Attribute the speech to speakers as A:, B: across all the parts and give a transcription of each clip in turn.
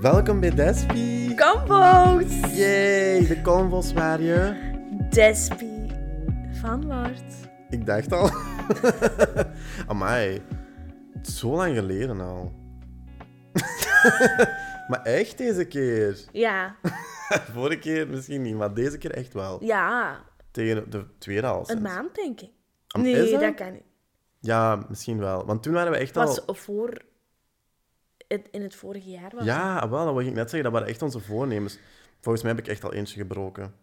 A: Welkom bij Despi.
B: Compost!
A: Yay, de convos waar je.
B: Despi van Lord.
A: Ik dacht al. Amai, zo lang geleden al. maar echt deze keer.
B: Ja,
A: Vorige keer misschien niet, maar deze keer echt wel.
B: ja,
A: Tegen de tweede al.
B: een maand denk ik.
A: Am-
B: nee,
A: Ah, is dat?
B: dat? kan niet.
A: Ja, misschien wel. Want toen waren we echt
B: Het was
A: al.
B: voor het, in het vorige jaar. Was het.
A: Ja, wel, dat wil ik net zeggen. Dat waren echt onze voornemens. Volgens mij heb ik echt al eentje gebroken.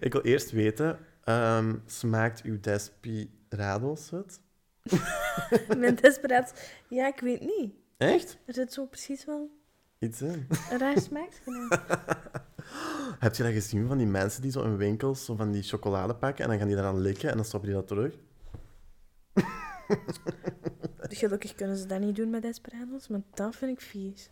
A: ik wil eerst weten, ehm, smaakt uw desperados het?
B: Mijn desperaat. Ja, ik weet niet.
A: Echt?
B: Er zit zo precies wel
A: Iets in.
B: een raar smaakje in.
A: Heb je dat gezien van die mensen die zo in winkels zo van die chocolade pakken en dan gaan die daaraan likken en dan stoppen die dat terug?
B: Gelukkig kunnen ze dat niet doen met desperados, maar dat vind ik vies.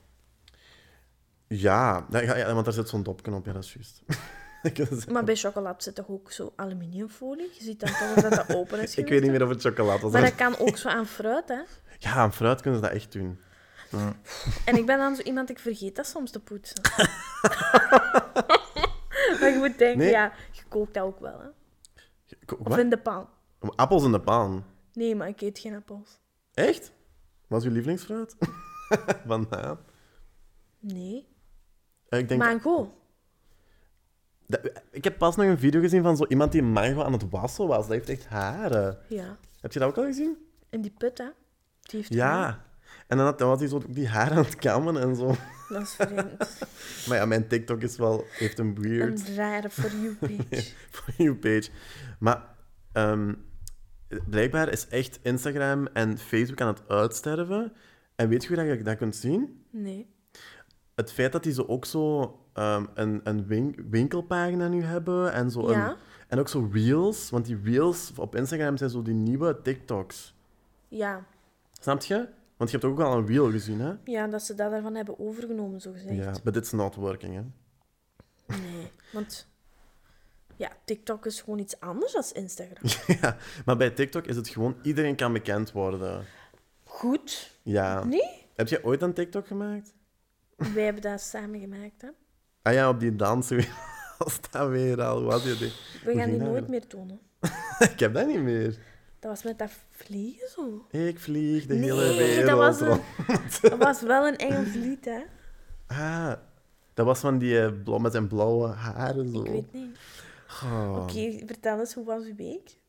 A: Ja, dat- ja, ja, want daar zit zo'n dopknop, ja, dat is juist. Dat kunnen ze-
B: Maar bij chocolade zit toch ook zo aluminiumfolie? Je ziet dan toch dat dat open is
A: ik weet niet
B: geweest, hè?
A: meer of het chocolade was.
B: Maar dat kan ook zo aan fruit, hè.
A: Ja, aan fruit kunnen ze dat echt doen.
B: En ik ben dan zo iemand, ik vergeet dat soms te poetsen. maar je moet denken,
A: Nee.
B: ja, je kookt dat ook wel, hè?
A: Ko-
B: Of
A: Wat?
B: in de pan.
A: Appels in de pan.
B: Nee, maar ik eet geen appels.
A: Echt? Wat is uw lievelingsfruit? Banaan.
B: Nee.
A: Eh, Ik, denk
B: Mango.
A: dat- ik heb pas nog een video gezien van zo iemand die een mango aan het wassen was. Dat heeft echt haren.
B: Ja.
A: Heb je dat ook al gezien?
B: En die put, hè? Die heeft
A: Ja. En dan, had, dan was hij zo die haren aan het kammen en zo.
B: Dat is vreemd.
A: Maar ja, mijn TikTok is wel, heeft een weird
B: Een rare for you bitch.
A: for you page. Maar ehm, blijkbaar is echt Instagram en Facebook aan het uitsterven. En weet je hoe dat je dat kunt zien?
B: Nee.
A: het feit dat die zo ook zo ehm, een, een win- winkelpagina nu hebben en zo.
B: Ja.
A: Een, en ook zo reels, want die reels op Instagram zijn zo die nieuwe TikToks.
B: Ja.
A: Snap je? Want je hebt ook al een reel gezien, hè?
B: Ja, dat ze dat daarvan hebben overgenomen, zo gezegd.
A: Ja, but it's not working, hè?
B: Nee. Want ja, TikTok is gewoon iets anders dan Instagram.
A: ja, maar bij TikTok is het gewoon iedereen kan bekend worden.
B: Goed.
A: Ja.
B: Nee?
A: Heb jij ooit een TikTok gemaakt?
B: Wij hebben dat samen gemaakt, hè?
A: Ah ja, op die dans weer. Was dat weer al? Wat je die?
B: We
A: Hoe
B: gaan
A: ging
B: die
A: dat
B: nooit
A: weer?
B: meer tonen.
A: Ik heb dat niet meer.
B: Dat was met dat vliegen zo.
A: Ik vlieg de
B: Nee,
A: hele
B: dat
A: wereld
B: was een-
A: rond.
B: Dat was wel een Engels lied, hè?
A: Ah, dat was van die eh, blond met zijn blauwe haren zo.
B: Ik weet niet.
A: Oh.
B: Oké, vertel eens, hoe was uw week?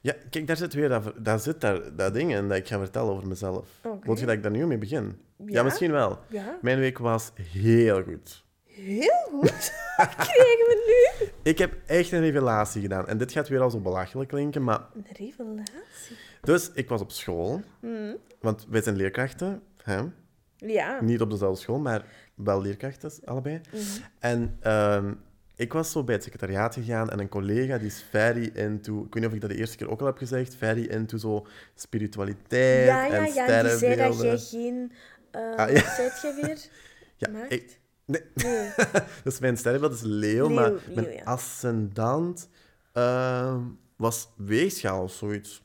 A: Ja, kijk, daar zit weer dat, ver- daar zit daar, dat ding in dat ik ga vertellen over mezelf.
B: Oké.
A: Wil je dat ik daar nu mee begin? Ja,
B: Ja.
A: misschien wel.
B: Ja.
A: Mijn week was heel goed.
B: Heel goed. Krijgen we nu
A: Ik heb echt een revelatie gedaan. En dit gaat weer al zo belachelijk klinken, maar...
B: een revelatie?
A: Dus, ik was op school.
B: Mm.
A: Want wij zijn leerkrachten, hè?
B: Ja. Mhm.
A: Niet op dezelfde school, maar wel leerkrachten, allebei. En ehm, ik was zo bij het secretariaat gegaan en een collega die is very into... Ik weet niet of ik dat de eerste keer ook al heb gezegd. Very into zo spiritualiteit
B: Ja, ja,
A: en
B: ja. Die zei dat jij
A: sterrenbeelden.
B: geen... eh
A: Ah, ja.
B: Wat zei jij weer?
A: Ja,
B: maakt.
A: ik... Nee,
B: Nee.
A: dus mijn sterrenbeeld is leeuw,
B: Leeuw,
A: maar
B: leeuw,
A: mijn
B: ja.
A: ascendant ehm, was weegschaal of zoiets.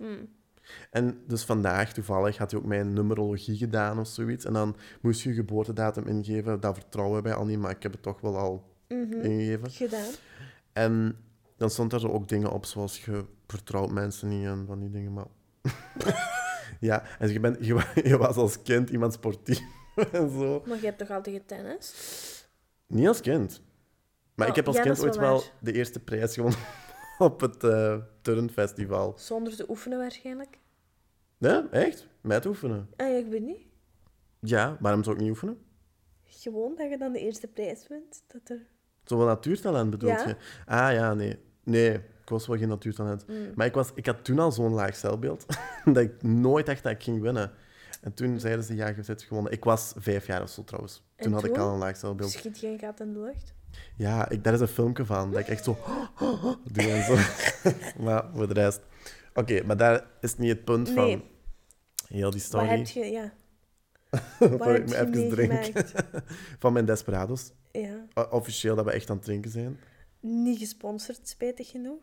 A: En dus vandaag, toevallig, had hij ook mijn numerologie gedaan of zoiets. En dan moest je je geboortedatum ingeven. Dat vertrouwen wij al niet, maar ik heb het toch wel al ingegeven.
B: Gedaan.
A: En dan stond daar zo ook dingen op, zoals je vertrouwt mensen niet en van die dingen, maar... ja, en je, bent, je, wa- je was als kind iemand sportief en zo.
B: Maar je hebt toch altijd tennis?
A: Niet als kind. Maar
B: Oh,
A: ik heb als
B: ja, dat
A: kind
B: is wel
A: ooit wel
B: waar.
A: de eerste prijs gewonnen op het eh, turnfestival.
B: Zonder te oefenen waarschijnlijk.
A: Nee, echt? Met oefenen.
B: Ah ja, ik weet niet.
A: Ja, waarom zou ik niet oefenen?
B: Gewoon dat je dan de eerste prijs wint. Dat er...
A: Zo wel natuurtalent bedoel
B: Ja.
A: je? Ah ja, nee. Nee, ik was wel geen natuurtalent.
B: Mm.
A: Maar ik, was, ik had toen al zo'n laag zelfbeeld dat ik nooit dacht dat ik ging winnen. En toen zeiden ze, ja, je hebt gewonnen. Ik was vijf jaar of zo trouwens. Toen
B: En
A: had ik
B: toen?
A: al een laag zelfbeeld.
B: Schiet geen gat in de lucht.
A: Ja, ik, daar is een filmpje van. Dat ik echt zo... doe en zo. maar voor de rest... Oké, maar daar is niet het punt van.
B: Nee.
A: Heel die
B: Wat
A: story.
B: heb je... Ja.
A: Voor
B: Waar
A: ik
B: heb
A: me
B: je
A: even drink.
B: meegemaakt?
A: Van mijn Desperados.
B: Ja.
A: O- Officieel dat we echt aan het drinken zijn.
B: Niet gesponsord, spijtig genoeg.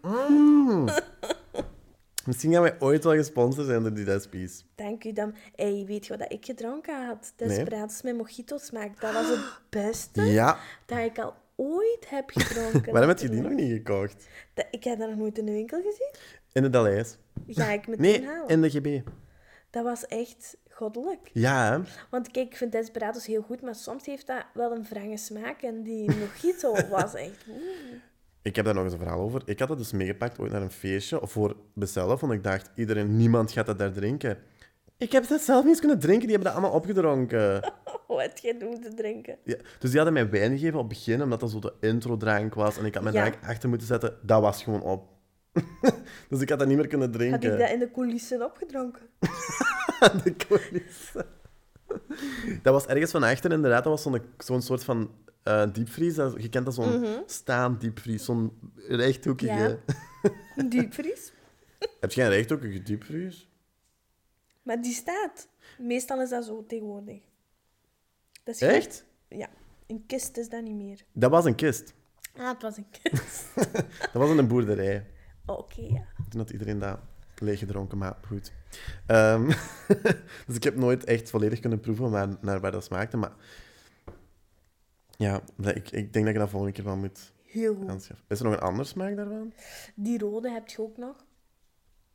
A: Misschien gaan wij ooit wel gesponsord zijn door die Despies.
B: Dank u dan. Hey, weet je wat dat ik gedronken had?
A: Nee.
B: Desperados met mojito smaak. Dat was het beste
A: Ja,
B: dat ik al ooit heb gedronken.
A: waarom heb je die nog niet gekocht?
B: Dat- Ik heb dat nog nooit in de winkel gezien.
A: In de Daleis.
B: Ga ik meteen
A: Nee,
B: halen.
A: in de GB.
B: Dat was echt goddelijk.
A: Ja, hè?
B: Want kijk, ik vind Desperados heel goed, maar soms heeft dat wel een wrange smaak. En die mojito was echt... oeh.
A: ik heb daar nog eens een verhaal over. Ik had dat dus meegepakt ooit naar een feestje, of voor mezelf, want ik dacht, iedereen, niemand gaat dat daar drinken. Ik heb dat zelf niet eens kunnen drinken, die hebben dat allemaal opgedronken.
B: Oh, het jij doen te drinken.
A: Ja, dus die hadden mij wijn gegeven op het begin, omdat dat zo de intro-drank was. En ik had mijn
B: Ja.
A: drank achter moeten zetten. Dat was gewoon op. dus ik had dat niet meer kunnen
B: Had
A: drinken.
B: ik dat in de coulissen opgedronken?
A: De coulissen. dat was ergens van achter, inderdaad. Dat was zo'n, zo'n soort van eh, diepvries. Dat- Je kent dat zo'n staand diepvries, zo'n rechthoekige.
B: Mhm. Ja. Een diepvries.
A: Heb jij een rechthoekige diepvries?
B: Maar die staat. Meestal is dat zo tegenwoordig. Dat is gewoon-
A: Echt?
B: Ja. Een kist is dat niet meer.
A: Dat was een kist.
B: Ah, het was een kist.
A: Dat was in een boerderij.
B: Oké, ja.
A: Toen had iedereen dat leeggedronken, maar goed. Ehm, dus ik heb nooit echt volledig kunnen proeven waar, naar waar dat smaakte. Maar ja, dat- ik, ik denk dat ik dat volgende keer wel moet
B: Heel goed.
A: aanschaffen. Is er nog een ander smaak daarvan?
B: Die rode heb je ook nog.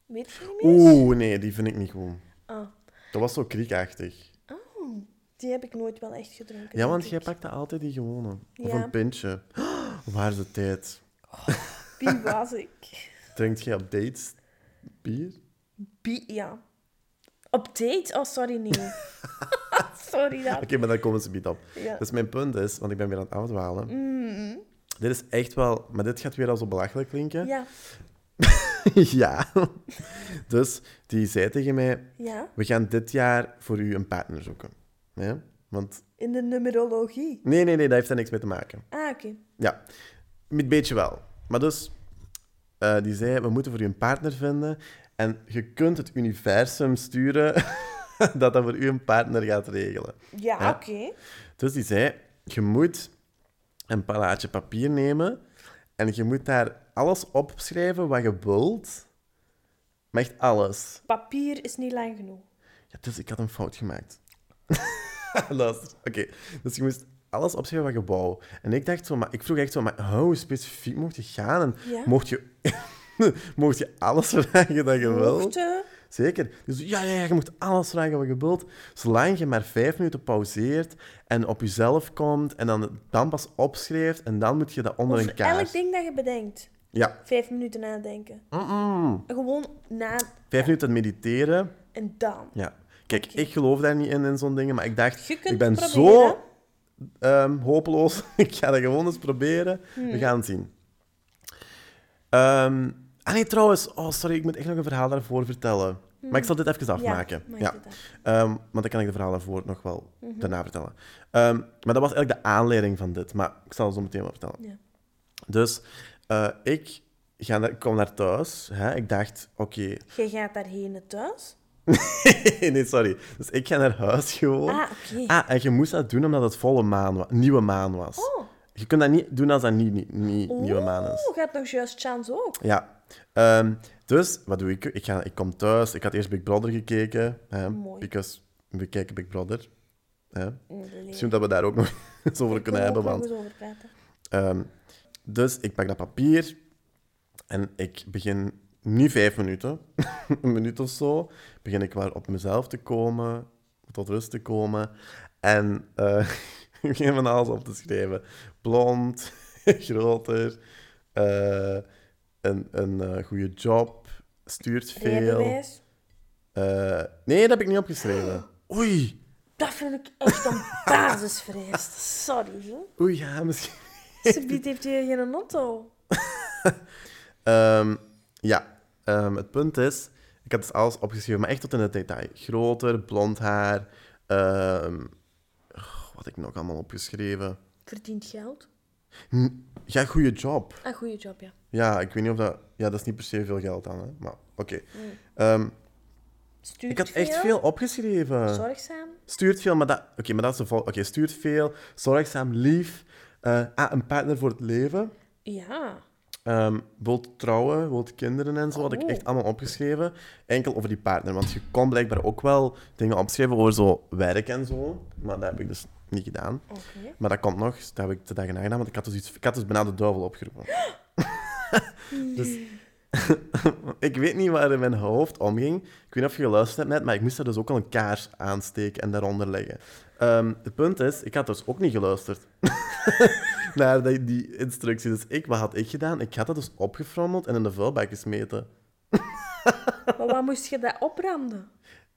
B: Weet je niet meer?
A: Oeh, nee, die vind ik niet goed.
B: Ah.
A: Dat was zo kriekachtig.
B: Oh, die heb ik nooit wel echt gedronken.
A: Ja,
B: denk
A: want
B: ik.
A: jij pakte altijd die gewone. Of
B: Ja.
A: een pintje. waar is de tijd?
B: Wie was ik?
A: Drinkt jij op dates bier?
B: Bi ja. Op date? Oh, sorry, nee. sorry,
A: Oké,
B: dat.
A: maar daar komen ze niet op.
B: Ja. Mm-hmm.
A: Dus mijn punt is, want ik ben weer aan het afdwalen. Dit is echt wel... Maar dit gaat weer al zo belachelijk klinken.
B: Ja,
A: Ja. Dus die zei tegen mij:
B: ja.
A: We gaan dit jaar voor u een partner zoeken. Ja? Want.
B: In de numerologie.
A: Nee, nee, nee, dat heeft daar niks mee te maken.
B: Ah, oké.
A: Ja, een beetje wel. Maar dus, eh, die zei: We moeten voor u een partner vinden. En je kunt het universum sturen dat dat voor u een partner gaat regelen.
B: Ja,
A: Ja.
B: oké.
A: Dus die zei, je moet een palaatje papier nemen en je moet daar alles opschrijven wat je wilt. Maar echt alles.
B: Papier is niet lang genoeg.
A: Ja, dus ik had een fout gemaakt. Luister, oké. Dus je moest alles opschrijven wat je wou. En ik dacht zo, maar ik vroeg echt zo, maar hoe specifiek mocht je gaan? En
B: Ja.
A: mocht, je, mocht je alles vragen dat je wilt?
B: Hoogte.
A: Zeker. Dus ja, ja, ja, je moet alles vragen wat je wilt. Zolang je maar vijf minuten pauzeert en op jezelf komt en dan, dan pas opschrijft en dan moet je dat onder een
B: Over elk
A: kaart.
B: ding dat je bedenkt.
A: Ja.
B: Vijf minuten nadenken.
A: Mm-mm.
B: Gewoon na
A: Vijf minuten mediteren.
B: en dan.
A: Ja. Kijk, ik geloof daar niet in, in zo'n dingen, maar ik dacht,
B: Je kunt
A: ik ben
B: het
A: zo
B: proberen.
A: ehm, hopeloos. ik ga dat gewoon eens proberen.
B: Hmm.
A: We gaan het zien. Ehm, ah nee, trouwens. Oh, sorry, ik moet echt nog een verhaal daarvoor vertellen. Maar ik zal dit even afmaken.
B: Hmm. maak Mhm.
A: ja.
B: dit af.
A: Ehm, want dan kan ik de verhaal daarvoor nog wel daarna vertellen. Ehm, maar dat was eigenlijk de aanleiding van dit. Maar ik zal het zo meteen wel vertellen.
B: Ja.
A: Dus eh, ik, ga naar, ik kwam naar thuis. Hè? Ik dacht, oké...
B: Jij gaat daarheen naar thuis.
A: nee, sorry. Dus ik ga naar huis gewoon.
B: Ah, oké.
A: Ah, en je moest dat doen omdat het volle maan was. Nieuwe maan was.
B: Oh.
A: Je kunt dat niet doen als dat niet, niet, niet nieuwe maan is.
B: Oeh, gaat nog juist chance ook.
A: Ja. Ehm, dus, wat doe ik? Ik, ga, ik kom thuis. Ik had eerst Big Brother gekeken. Hè,
B: Mooi. Mm,
A: Because we kijken Big Brother. Hè.
B: Nee.
A: Misschien dat we daar ook nog eens over
B: Daar
A: kunnen hebben.
B: we ook
A: Want,
B: nog eens over praten.
A: ehm, dus ik pak dat papier en ik begin niet vijf minuten, een minuut of zo, begin ik wel op mezelf te komen, tot rust te komen. En eh, ik begin van alles op te schrijven. Blond, groter, eh, een, een eh, goede job, stuurt veel.
B: Rijbewijs.
A: Eh, nee, dat heb ik niet opgeschreven. Oei,
B: Dat vind ik echt een basisvereist. Sorry, zo.
A: oei, ja, misschien...
B: Subiet heeft hier geen auto.
A: Ehm, ja, Ehm, het punt is, ik had dus alles opgeschreven, maar echt tot in het detail. Groter, blond haar. ehm, oh, wat heb ik nog allemaal opgeschreven?
B: Verdient geld.
A: Hm, Ja, goede job.
B: Een goede job, ja.
A: Ja, ik weet niet of dat. Ja, dat is niet per se veel geld dan, hè? maar oké. Ehm,
B: Stuurt
A: ik had echt veel opgeschreven.
B: Zorgzaam.
A: Stuurt veel, maar dat. Oké, maar dat is de vol. Oké, stuurt veel, zorgzaam, lief. eh, ah, een partner voor het leven.
B: Ja.
A: Ehm wilt trouwen, wilt kinderen en zo, had ik echt allemaal opgeschreven. Enkel over die partner. Want je kon blijkbaar ook wel dingen opschrijven over zo werk en zo. Maar dat heb ik dus niet gedaan.
B: Oké.
A: Maar dat komt nog, dus dat heb ik de dagen na gedaan. Want ik had dus, iets, ik had dus bijna de duivel opgeroepen. dus ik weet niet waar in mijn hoofd omging. Ik weet niet of je geluisterd hebt net, maar ik moest er dus ook al een kaars aansteken en daaronder leggen. Ehm, het punt is, ik had dus ook niet geluisterd naar die, die instructie. Dus ik, wat had ik gedaan? Ik had dat dus opgefrommeld en in de vuilbak gesmeten.
B: Maar waar moest je dat opranden?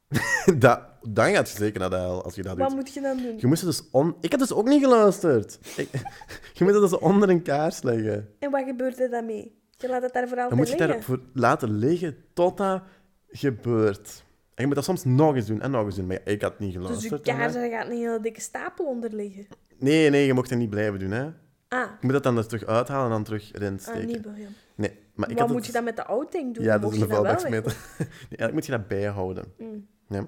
A: dat, dan gaat je zeker naar de hel als je dat doet.
B: Wat moet je dan doen?
A: Je moest het dus on... Ik had dus ook niet geluisterd. Ik- je moet het dus onder een kaars leggen.
B: En wat gebeurt er dan mee? Je laat het daar voor
A: Dan
B: altijd
A: moet je
B: liggen.
A: het voor laten liggen tot dat gebeurt. En je moet dat soms nog eens doen en nog eens doen. Maar ja, ik had niet
B: Dus je
A: geluisterd.
B: kaars,
A: hè.
B: daar gaat een hele dikke stapel onder liggen.
A: Nee, nee, je mocht het niet blijven doen. Hè.
B: Ah,
A: Je moet dat dan er terug uithalen en dan terug erin
B: ah
A: steken.
B: niet William.
A: nee, maar ik
B: Wat
A: had
B: moet
A: het...
B: je dan met de oudding doen?
A: Ja, dat
B: Mocht
A: is een
B: je wel
A: vuilbak
B: weg-
A: smeten. Nee, eigenlijk moet je dat bijhouden.
B: Mm.
A: Ja.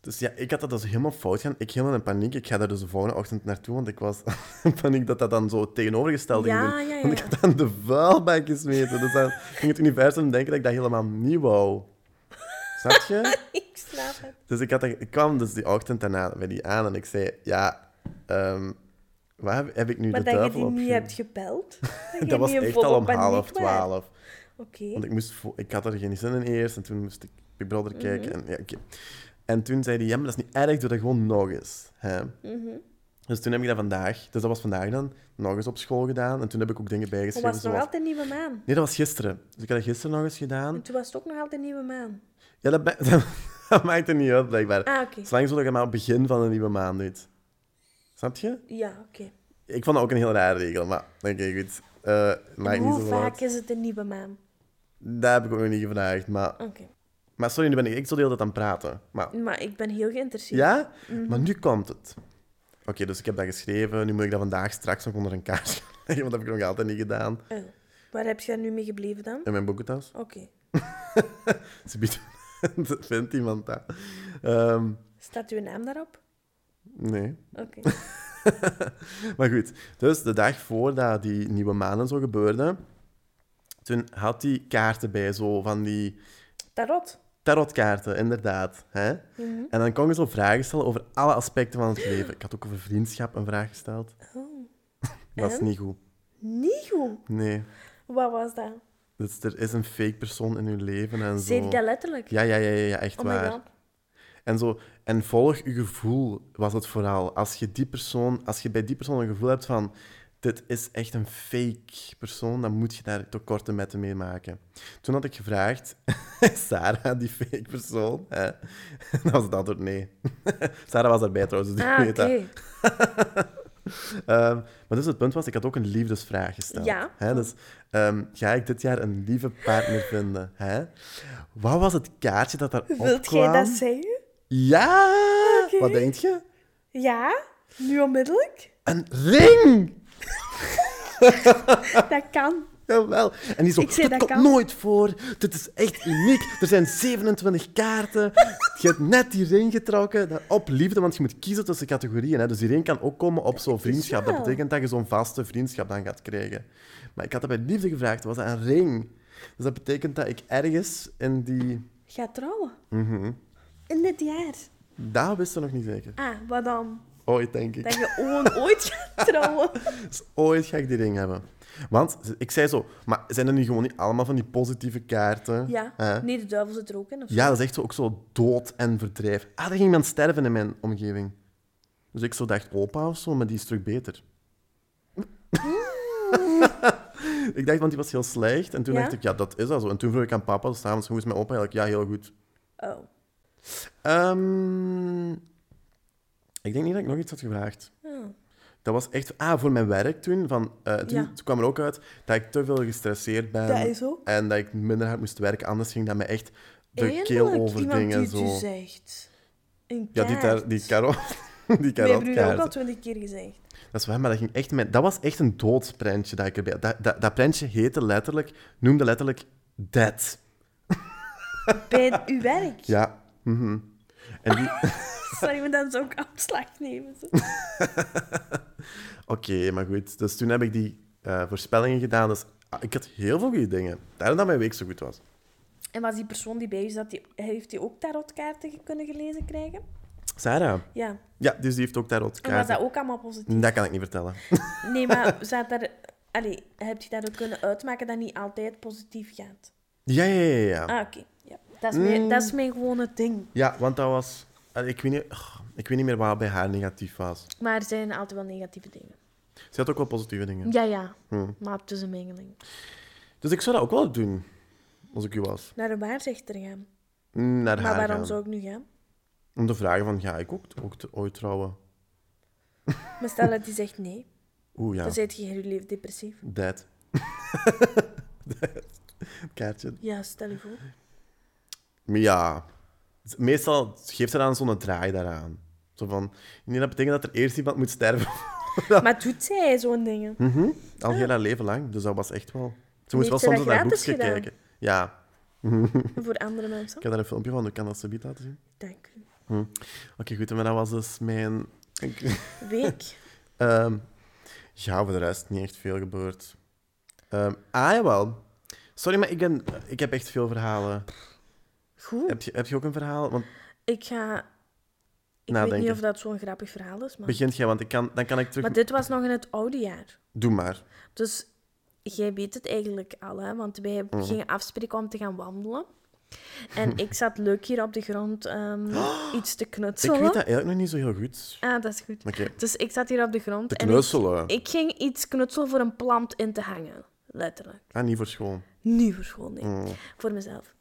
A: Dus ja, ik had dat dus helemaal fout gaan. Ik helemaal in paniek. Ik ga daar dus de volgende ochtend naartoe, want ik was in paniek dat dat dan zo het tegenovergestelde
B: Ja,
A: ging doen.
B: ja, ja.
A: Want ik had aan de vuilbak gesmeten. Dus dan ging het universum denken dat ik dat helemaal niet wou. Snap je?
B: Ik slaap het.
A: Dus ik, had, dat- ik kwam dus die ochtend daarna bij die aan en ik zei, ja, ehm, waar heb, heb ik nu
B: Maar
A: de
B: dat je
A: duivel
B: die
A: op?
B: niet
A: ge-
B: hebt gebeld? je
A: Dat was
B: niet in
A: echt
B: volle
A: al om
B: paniek
A: half
B: was?
A: twaalf.
B: Oké.
A: Want ik, moest vo- ik had er geen zin in eerst en toen moest ik Big Brother
B: Mhm.
A: kijken. En, ja, oké. en toen zei hij, ja, maar dat is niet erg, doe dat gewoon nog eens. Hè?
B: Mhm.
A: Dus toen heb ik dat vandaag, dus dat was vandaag dan, nog eens op school gedaan. En toen heb ik ook dingen
B: Maar
A: bijgeschreven.
B: was het nog
A: Zoals...
B: altijd nieuwe maan?
A: Nee, dat was gisteren. Dus ik had dat gisteren nog eens gedaan.
B: En toen was het ook nog altijd nieuwe maan.
A: Ja, dat, ma- dat maakt er niet uit, blijkbaar.
B: Ah, oké.
A: Zolang zodat je maar op het begin van een nieuwe maand doet. Snap je?
B: Ja, oké.
A: Ik vond dat ook een heel rare regel, maar oké, goed. Eh
B: En
A: maakt niet
B: Hoe
A: zo
B: vaak
A: uit.
B: is het een nieuwe maan?
A: Dat heb ik ook nog niet gevraagd, maar...
B: Oké.
A: Maar sorry, nu ben ik, ik zo de hele tijd aan het praten. Maar
B: Maar ik ben heel geïnteresseerd.
A: Ja? Maar nu komt het. Oké, dus ik heb dat geschreven. Nu moet ik dat vandaag straks nog onder een kaars gaan leggen, want dat heb ik nog altijd niet gedaan.
B: Oh. Waar heb je daar nu mee gebleven dan?
A: In mijn boekentas.
B: Oké.
A: Ze biedt... Vindt iemand dat? Ehm,
B: Staat uw naam daarop?
A: nee.
B: Oké.
A: Maar goed, dus de dag voordat die nieuwe maanden zo gebeurde, toen had hij kaarten bij, zo van die
B: Tarot.
A: tarotkaarten, inderdaad. Hè? En dan kon je zo vragen stellen over alle aspecten van het leven. Ik had ook over vriendschap een vraag gesteld. Dat is
B: En?
A: niet goed.
B: Niet goed.
A: Nee.
B: Wat was dat?
A: Dus er is een fake persoon in uw leven en
B: Zei
A: zo.
B: je dat letterlijk?
A: Ja, ja, ja, ja, ja, echt
B: oh my
A: waar.
B: god.
A: En, zo, en volg je gevoel was het vooral. Als je, die persoon, als je bij die persoon een gevoel hebt van... Dit is echt een fake persoon, dan moet je daar tekorten met mee maken. Toen had ik gevraagd, is Sarah die fake persoon? Eh, dan was het antwoord nee. Sarah was erbij trouwens, dus die
B: Ah,
A: weet
B: oké.
A: dat. Ehm, maar dus het punt was, ik had ook een liefdesvraag gesteld.
B: Ja.
A: Hè? Dus ehm, ga ik dit jaar een lieve partner vinden? Hè? Wat was het kaartje dat daar
B: Wilt jij
A: kwam?
B: dat zeggen?
A: Ja!
B: Oké.
A: Wat denk je?
B: Ja? Nu onmiddellijk?
A: Een ring!
B: Dat kan.
A: Jawel. En die zo,
B: Ik zei,
A: dit
B: dat
A: komt
B: kan."
A: nooit voor. Dit is echt uniek. Er zijn 27 kaarten. Je hebt net die ring getrokken. Dan Op liefde, want je moet kiezen tussen categorieën. Hè. Dus die ring kan ook komen op zo'n vriendschap. Dat
B: wel.
A: betekent dat je zo'n vaste vriendschap dan gaat krijgen. Maar ik had dat bij liefde gevraagd. Was dat een ring? Dus dat betekent dat ik ergens in die...
B: Ga trouwen.
A: Mhm.
B: In dit jaar.
A: Dat wist ze nog niet zeker.
B: Ah, wat dan?
A: Ooit, denk ik.
B: Dat je gewoon ooit gaat trouwen.
A: Dus ooit ga ik die ring hebben. Want ze- ik zei zo, maar zijn er nu gewoon niet allemaal van die positieve kaarten? Eh,
B: Ja.
A: Hè?
B: Nee, de duivel zit er ook in. Of zo.
A: Ja, dat is echt zo, ook zo dood en verdrijf. Ah, er ging iemand sterven in mijn omgeving. Dus ik zo dacht, opa of zo, maar die is terug beter.
B: Mm.
A: ik dacht, want die was heel slecht. En toen
B: Ja?
A: dacht ik, ja, dat is dat zo. En toen vroeg ik aan papa, dus s'avonds, hoe is mijn opa eigenlijk? Ja, heel goed.
B: Oh.
A: Ehm, ik denk niet dat ik nog iets had gevraagd.
B: Oh.
A: Dat was echt... Ah, voor mijn werk toen. Van, eh, toen,
B: Ja.
A: toen kwam er ook uit dat ik te veel gestresseerd ben.
B: Dat is zo.
A: En dat ik minder hard moest werken. Anders ging dat me echt de
B: Eindelijk
A: keel overdingen.
B: iemand
A: zo.
B: die dus het u zegt. Een
A: Ja, die, tar- die karot. Die
B: We hebben u dat ook al
A: karotkaart.
B: twintig keer gezegd.
A: Dat is waar, maar dat, ging echt met, dat was echt een doodsprentje dat ik erbij had. Dat, dat, dat prentje heette letterlijk, noemde letterlijk Dead.
B: Bij uw werk.
A: Ja. mhm. En die...
B: Sorry, maar dan zou ik afslag nemen. zo.
A: Oké, maar goed. Dus toen heb ik die eh, voorspellingen gedaan. Dus Ah, Ik had heel veel goede dingen. Daarom dat mijn week zo goed was.
B: En was die persoon die bij u zat, die, heeft die ook tarotkaarten ge- kunnen gelezen krijgen?
A: Sarah.
B: Ja.
A: Ja, dus die heeft ook tarot
B: En was dat
A: kaarten.
B: ook allemaal positief?
A: Dat kan ik niet vertellen.
B: Nee, maar zat daar... Allee, heb je dat ook kunnen uitmaken dat niet altijd positief gaat?
A: Ja, ja, ja, ja.
B: Ah, oké. Ja. Dat, is mijn, dat is mijn gewone ding.
A: Ja, want dat was... eh, Ik weet, niet, oh, ik weet niet meer waar bij haar negatief was.
B: Maar er zijn altijd wel negatieve dingen.
A: Ze had ook wel positieve dingen.
B: Ja, ja.
A: Hmm.
B: Maar het is een mengeling.
A: Dus ik zou dat ook wel doen. Als ik u was.
B: Naar de waarzegter gaan.
A: Naar
B: maar
A: haar
B: waarom
A: gaan.
B: zou ik nu gaan?
A: Om te vragen van, ga ik ook, ook t- ooit trouwen?
B: Maar stel dat die zegt nee.
A: Oeh, ja.
B: Dan zit je heel lief depressief.
A: Dead. Dead. Kaartje.
B: Ja, stel je voor.
A: Maar ja, z- meestal geeft ze dan zo'n draai daaraan. Zo van, nee, dat betekent dat er eerst iemand moet sterven.
B: Maar doet zij zo'n dingen?
A: Mhm. Al heel haar leven lang, dus dat was echt wel... Ze moest wel
B: ze dat
A: soms in haar
B: gratis
A: boekje
B: gedaan?
A: kijken. Ja,
B: Voor andere
A: ik
B: mensen?
A: heb daar een filmpje van, ik kan dat zo niet laten zien.
B: Dank u.
A: Oké, goed, maar dat was dus mijn... Ik-
B: Week.
A: Ehm, ja, voor de rest niet echt veel gebeurd. Ehm, ah, jawel. Sorry, maar ik, ben, ik heb echt veel verhalen.
B: Goed.
A: Heb je, heb je ook een verhaal? Want
B: Ik ga... Ik weet
A: Nadenken.
B: niet of dat zo'n grappig verhaal is, maar...
A: begint jij, want ik kan, dan kan ik terug...
B: Maar dit was nog in het oude jaar.
A: Doe maar.
B: Dus jij weet het eigenlijk al, hè? want wij
A: Mhm.
B: gingen afspreken om te gaan wandelen. En ik zat leuk hier op de grond ehm, iets te
A: Ik
B: knutselen.
A: weet dat eigenlijk nog niet zo heel goed.
B: Ah, dat is goed.
A: Oké.
B: Dus ik zat hier op de grond
A: Te
B: en
A: knutselen.
B: Ik, ik ging iets knutselen voor een plant in te hangen. Letterlijk.
A: Ah, niet voor school.
B: Niet voor school, nee.
A: Mm.
B: Voor mezelf.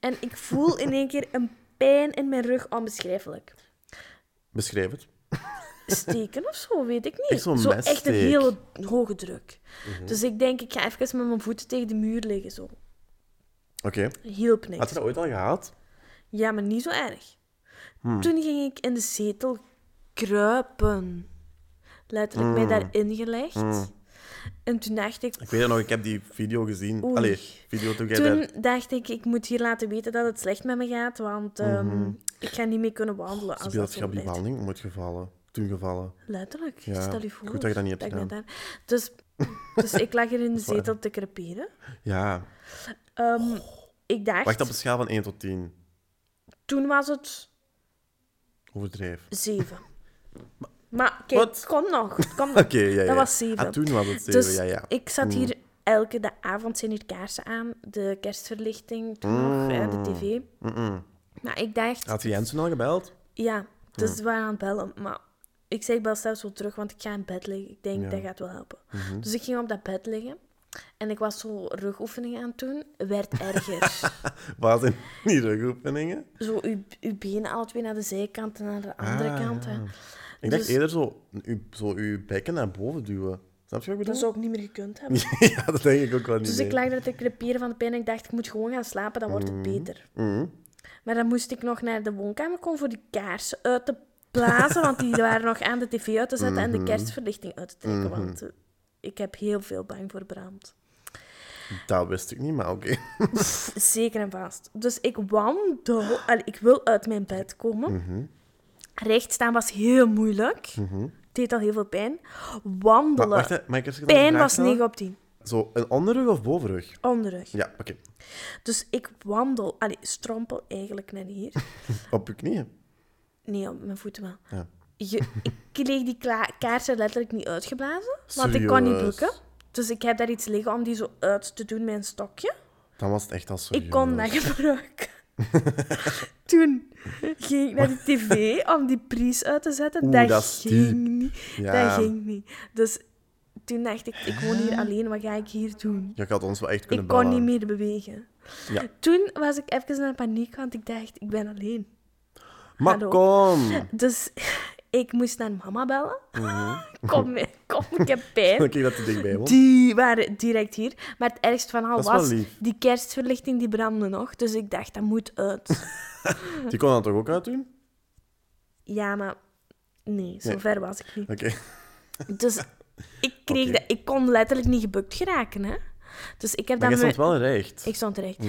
B: En ik voel in één keer een pijn in mijn rug, onbeschrijfelijk.
A: Beschrijf het.
B: steken of zo, weet ik niet.
A: Echt zo'n
B: zo echt een
A: messteek. Mhm.
B: hele hoge druk. Dus ik denk, ik ga even met mijn voeten tegen de muur liggen. Zo.
A: Oké.
B: Hielp niks.
A: Had je dat ooit al gehad?
B: Ja, maar niet zo erg.
A: Hmm.
B: Toen ging ik in de zetel kruipen. Letterlijk mij daarin gelegd. En toen dacht ik...
A: Hmm. Ik weet het nog, ik heb die video gezien.
B: Oei.
A: Allee, video toen jij daar...
B: Toen dacht ik, ik moet hier laten weten dat het slecht met me gaat, want ehm, ik ga niet meer kunnen wandelen.
A: Mhm. Ze
B: Als
A: beeld
B: dat
A: je
B: zo
A: op die
B: blijft.
A: behandling moet gevallen. Toen gevallen.
B: Letterlijk,
A: Ja,
B: stel je voor.
A: goed dat je dat niet hebt
B: ik net daar- Dus, dus ik lag hier in de
A: waar.
B: zetel te creperen.
A: Ja.
B: Ehm, ik dacht,
A: Wacht op een schaal van 1 tot 10.
B: toen was het
A: Overdrijf.
B: zeven. Maar kijk,
A: Wat?
B: het kon nog. Het kon nog.
A: Oké, ja, ja.
B: Dus Dat was zeven.
A: Ah, toen was het 7,
B: dus
A: ja, Mm. ja.
B: ik zat hier elke de avond zijn hier kaarsen aan. De kerstverlichting, toen nog, hè,
A: Mm.
B: de tv. Maar ik dacht,
A: Had je Jensen al gebeld?
B: ja, dus
A: Mm.
B: we waren aan het bellen. Maar ik zei, ik bel zelfs wel terug, want ik ga in bed liggen. Ik denk,
A: Ja. Mm-hmm.
B: dat gaat wel helpen. Dus ik ging op dat bed liggen. En ik was zo rugoefeningen aan het doen. Werd erger.
A: Was in die rugoefeningen?
B: zo uw, uw benen alle twee naar de zijkant en naar de andere
A: Ah,
B: kant. Hè.
A: ja. Ik dacht
B: Dus-
A: eerder zo uw, zo uw bekken naar boven duwen. Snap je wat ik bedoel?
B: Dat zou ik niet meer gekund hebben.
A: ja, dat denk ik ook wel niet
B: Dus
A: nee.
B: ik lag daar te creperen van de pijn en ik dacht, ik moet gewoon gaan slapen, dan wordt het beter.
A: Mhm.
B: Maar dan moest ik nog naar de woonkamer komen voor de kaarsen uit te blazen, want die waren nog aan de tv uit te zetten en
A: Mhm.
B: de kerstverlichting uit te trekken, want eh, ik heb heel veel bang voor brand.
A: Dat wist ik niet, maar oké.
B: Zeker en vast. Dus ik wandel, allee, ik wil uit mijn bed komen.
A: Mhm.
B: Recht staan was heel moeilijk. Het deed al heel veel pijn.
A: Maar
B: Wandelen.
A: Mhm. wacht, hè, mag ik even een
B: pijn
A: vraag
B: was
A: stellen?
B: 9 op 10.
A: Zo, een onderrug of bovenrug?
B: Onderrug.
A: Ja, oké.
B: Dus ik wandel, allee, strompel eigenlijk naar hier.
A: Op je knieën.
B: Nee, op mijn voeten wel.
A: Ja.
B: Je- ik kreeg die kla- kaarsen letterlijk niet uitgeblazen, want ik kon niet
A: Serieus?
B: bukken. Dus ik heb daar iets liggen om die zo uit te doen met een stokje.
A: Dan was het echt al zo.
B: Ik kon dat gebruiken. Toen ging ik naar de tv om die prijs uit te zetten.
A: Oeh,
B: dat,
A: dat is
B: ging
A: diep.
B: niet.
A: Ja.
B: Dat ging niet. Dus toen dacht ik, ik woon hier alleen, wat ga ik hier doen?
A: Je had ons wel echt kunnen
B: Ik kon
A: bellen.
B: niet meer bewegen.
A: Ja.
B: Toen was ik even in paniek, want ik dacht, ik ben alleen.
A: Maar
B: Hallo.
A: kom!
B: Dus ik moest naar mama bellen.
A: Mhm.
B: kom, mee, kom, ik heb pijn.
A: Dan kreeg dat te dichtbij woont.
B: Die waren direct hier. Maar het ergste van al
A: Dat is wel
B: was,
A: lief.
B: die kerstverlichting die brandde nog. Dus ik dacht, dat moet uit.
A: Die kon dat toch ook uitdoen?
B: ja, maar nee, zo
A: Nee.
B: ver was ik niet.
A: Oké.
B: Dus ik kreeg
A: Oké.
B: dat... Ik kon letterlijk niet gebukt geraken, hè. Dus ik heb
A: Maar
B: dat
A: jij
B: met...
A: stond wel recht.
B: Ik stond terecht.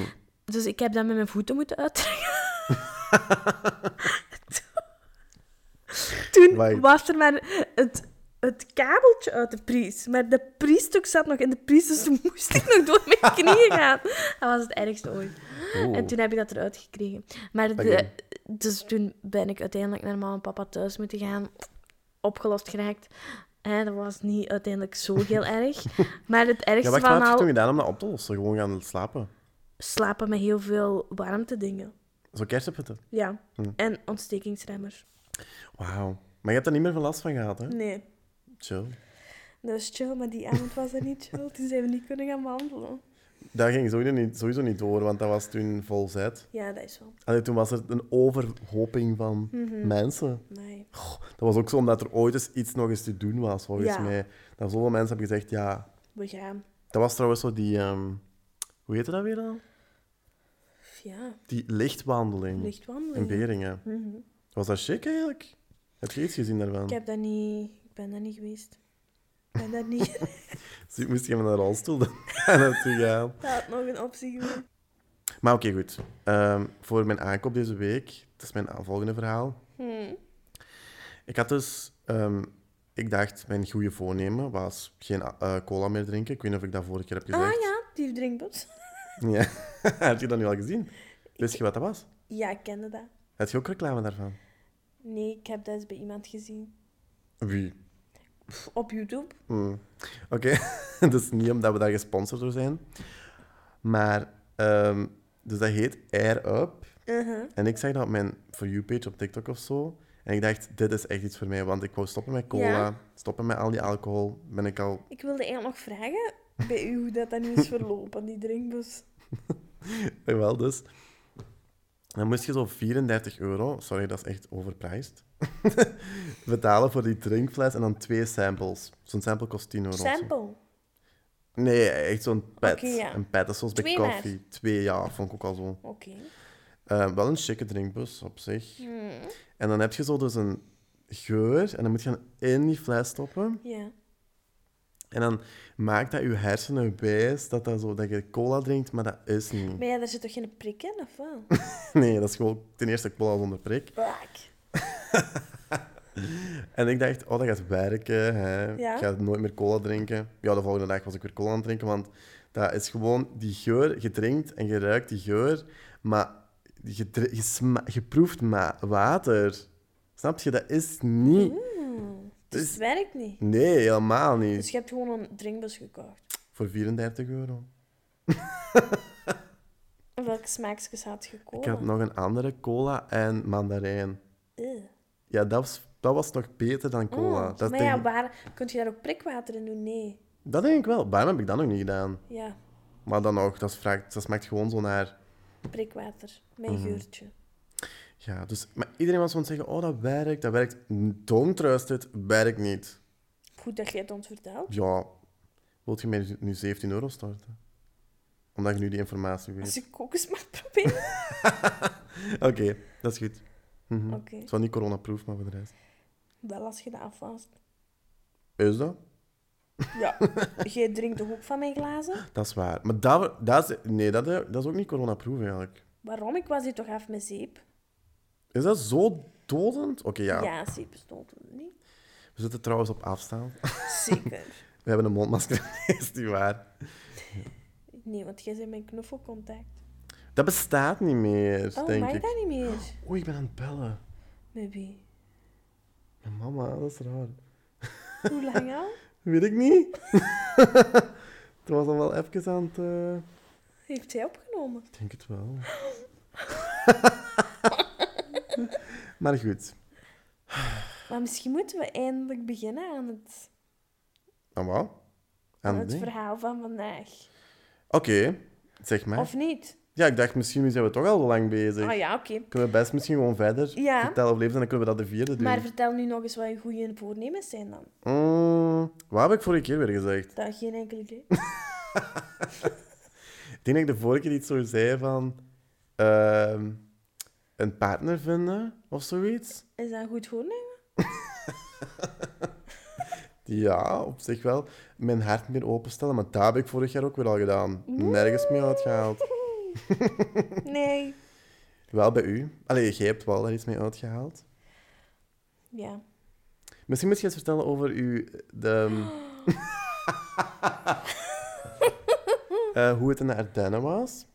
B: Dus ik heb dat met mijn voeten moeten uittrekken. Toen
A: Wacht.
B: was er maar het het kabeltje uit de pries. Maar de priesstuk zat nog in de pries, dus toen moest ik nog door mijn knieën gaan. Dat was het ergste ooit.
A: Oeh.
B: En toen heb ik dat eruit gekregen. Maar de,
A: Oh. Oké.
B: dus toen ben ik uiteindelijk naar mama en papa thuis moeten gaan. Opgelost geraakt. Hè, dat was niet uiteindelijk zo heel erg. Maar het
A: Ja,
B: ergste
A: wacht, wat
B: van
A: heb je
B: al,
A: toen gedaan om dat op te lossen? Gewoon gaan slapen.
B: slapen met heel veel warmte dingen.
A: Zo kersenpitten.
B: Ja. En ontstekingsremmers.
A: Wauw. Maar je hebt er niet meer veel last van gehad, hè?
B: Nee.
A: Chill.
B: Dat is chill, maar die avond was dat niet chill. Toen zijn we niet kunnen gaan wandelen.
A: Dat ging sowieso niet, sowieso niet door, want dat was toen vol zet.
B: Ja, dat is wel.
A: Allee, toen was er een overhoping van
B: Mhm.
A: mensen.
B: Nee.
A: Dat was ook zo omdat er ooit eens iets nog eens te doen was, volgens
B: Ja.
A: mij. Dat zoveel mensen hebben gezegd, ja...
B: We gaan.
A: Dat was trouwens zo die... ehm, hoe heette dat weer dan?
B: Ja,
A: Die lichtwandeling
B: licht
A: in
B: wandelen.
A: Beringen. Was dat chic eigenlijk? Heb je iets gezien daarvan?
B: Mhm. Ik heb dat niet... Ik ben daar niet geweest. Ik ben daar niet...
A: Zie- Moest je met een rolstoel dan naartoe gaan?
B: dat had nog een optie geweest.
A: Maar oké, goed. Ehm, voor mijn aankoop deze week, dat is mijn volgende verhaal. Ik had dus, ehm, ik dacht, mijn goede voornemen was geen eh, cola meer drinken. Ik weet niet of ik dat vorige keer heb
B: Ah
A: gezegd.
B: ja, die drinkbus.
A: ja. Heb je dat nu al gezien? Wist je wat dat was?
B: Ja, ik kende dat.
A: Had je ook reclame daarvan?
B: Nee, ik heb dat eens bij iemand gezien.
A: Wie?
B: Pff, Op YouTube.
A: Hmm. Oké, dat is niet omdat we daar gesponsord door zijn. Maar, ehm, dus dat heet Air Up.
B: Uh-huh.
A: En ik zag dat op mijn For You-page op TikTok of zo. En ik dacht, dit is echt iets voor mij, want ik wou stoppen met cola,
B: Ja.
A: stoppen met al die alcohol. Ben ik al...
B: Ik wilde eigenlijk nog vragen bij u hoe dat dan nu is verlopen, die drinkbus.
A: Wel, dus... Dan moest je zo 34 euro, sorry, dat is echt overpriced, betalen voor die drinkfles en dan twee samples. Zo'n sample kost 10 euro. of zo.
B: Sample.
A: Nee, echt zo'n pet.
B: Oké, ja.
A: Een pet, dat is zoals bij
B: Twee maar.
A: koffie. Twee, ja, vond ik ook al zo.
B: Oké.
A: Eh, wel een chique drinkbus op zich.
B: Hmm.
A: En dan heb je zo dus een geur en dan moet je dan in die fles stoppen.
B: Ja.
A: En dan maakt dat je hersenen wijs dat, dat, zo, dat je cola drinkt, maar dat is niet.
B: Maar ja, daar zit toch geen prik in, of wel?
A: Nee, dat is gewoon ten eerste cola zonder prik.
B: Bak.
A: En ik dacht, oh, dat gaat werken. Hè.
B: Ja.
A: Ik ga nooit meer cola drinken. Ja, de volgende dag was ik weer cola aan het drinken, want dat is gewoon die geur. Je drinkt en je ruikt die geur, maar je, dri- je, sma- je proeft maar water. Snap je? Dat is niet...
B: Dus
A: Dus-
B: het werkt niet.
A: Nee, helemaal niet.
B: Dus je hebt gewoon een drinkbus gekocht.
A: Voor 34 euro.
B: En welke smaakjes had je gekozen?
A: Ik had nog een andere cola en mandarijn. Ja, dat was, dat was nog beter dan cola. dat,
B: Mm, Hmm. maar
A: denk,
B: ja, waar... Kun je daar ook prikwater in doen? Nee.
A: dat denk ik wel. Waarom heb ik dat nog niet gedaan?
B: Ja,
A: Maar dan nog, dat, vraagt, dat smaakt gewoon zo naar...
B: prikwater. Mijn
A: Mhm.
B: geurtje.
A: Ja, dus, maar iedereen was aan het zeggen, oh, dat werkt, dat werkt. Don't trust it, werkt niet.
B: Goed dat je het ons vertelt.
A: Ja, wilt je mij nu 17 euro storten? Omdat je nu die informatie weet.
B: Als ik ook eens mag proberen.
A: Oké, dat is goed.
B: Oké.
A: Het is wel niet coronaproof, maar voor de rest.
B: Wel als je dat afwast.
A: Is dat?
B: Ja. Jij drinkt toch ook van mijn glazen?
A: Dat is waar. Maar dat, dat is, nee, dat, dat is ook niet coronaproof eigenlijk.
B: Waarom? Ik was hier toch af met zeep?
A: Is dat zo dodend? Oké, ja.
B: Ja, zeep bestond toen niet.
A: We zitten trouwens op afstand.
B: Zeker.
A: We hebben een mondmasker, is die waar?
B: Nee, want jij bent mijn knuffelcontact.
A: Dat bestaat niet meer,
B: Oh,
A: denk
B: mag
A: ik.
B: dat niet meer?
A: Oei, ik ben aan het bellen.
B: Maybe.
A: Mijn mama, dat is raar.
B: Hoe lang al?
A: Weet ik niet. Het was al wel even aan het... eh,
B: Heeft zij opgenomen?
A: Ik denk het wel. maar goed.
B: Maar misschien moeten we eindelijk beginnen aan het,
A: En wat?
B: aan
A: Ah, Aan het
B: het
A: ding? Oké,
B: verhaal van vandaag.
A: zeg maar.
B: Of niet?
A: Ja, ik dacht, misschien zijn we toch al zo lang bezig.
B: Ah ja, oké.
A: Kunnen we best misschien gewoon verder
B: Ja.
A: vertellen of leven en dan kunnen we dat de vierde doen.
B: Maar vertel nu nog eens wat je goede voornemens zijn dan.
A: Mm, wat heb ik vorige keer weer gezegd?
B: Dat is geen enkel idee.
A: Ik denk dat ik de vorige keer iets zo zei van... ehm, een partner vinden of zoiets.
B: Is dat een goed voornemen?
A: Ja, op zich wel. Mijn hart meer openstellen, maar dat heb ik vorig jaar ook weer al gedaan. Nergens mee uitgehaald.
B: Nee.
A: Wel bij u. Allee, jij hebt wel daar iets mee uitgehaald.
B: Ja.
A: Misschien moet je eens vertellen over uw... De, ehm, eh, hoe het in de Ardennen was.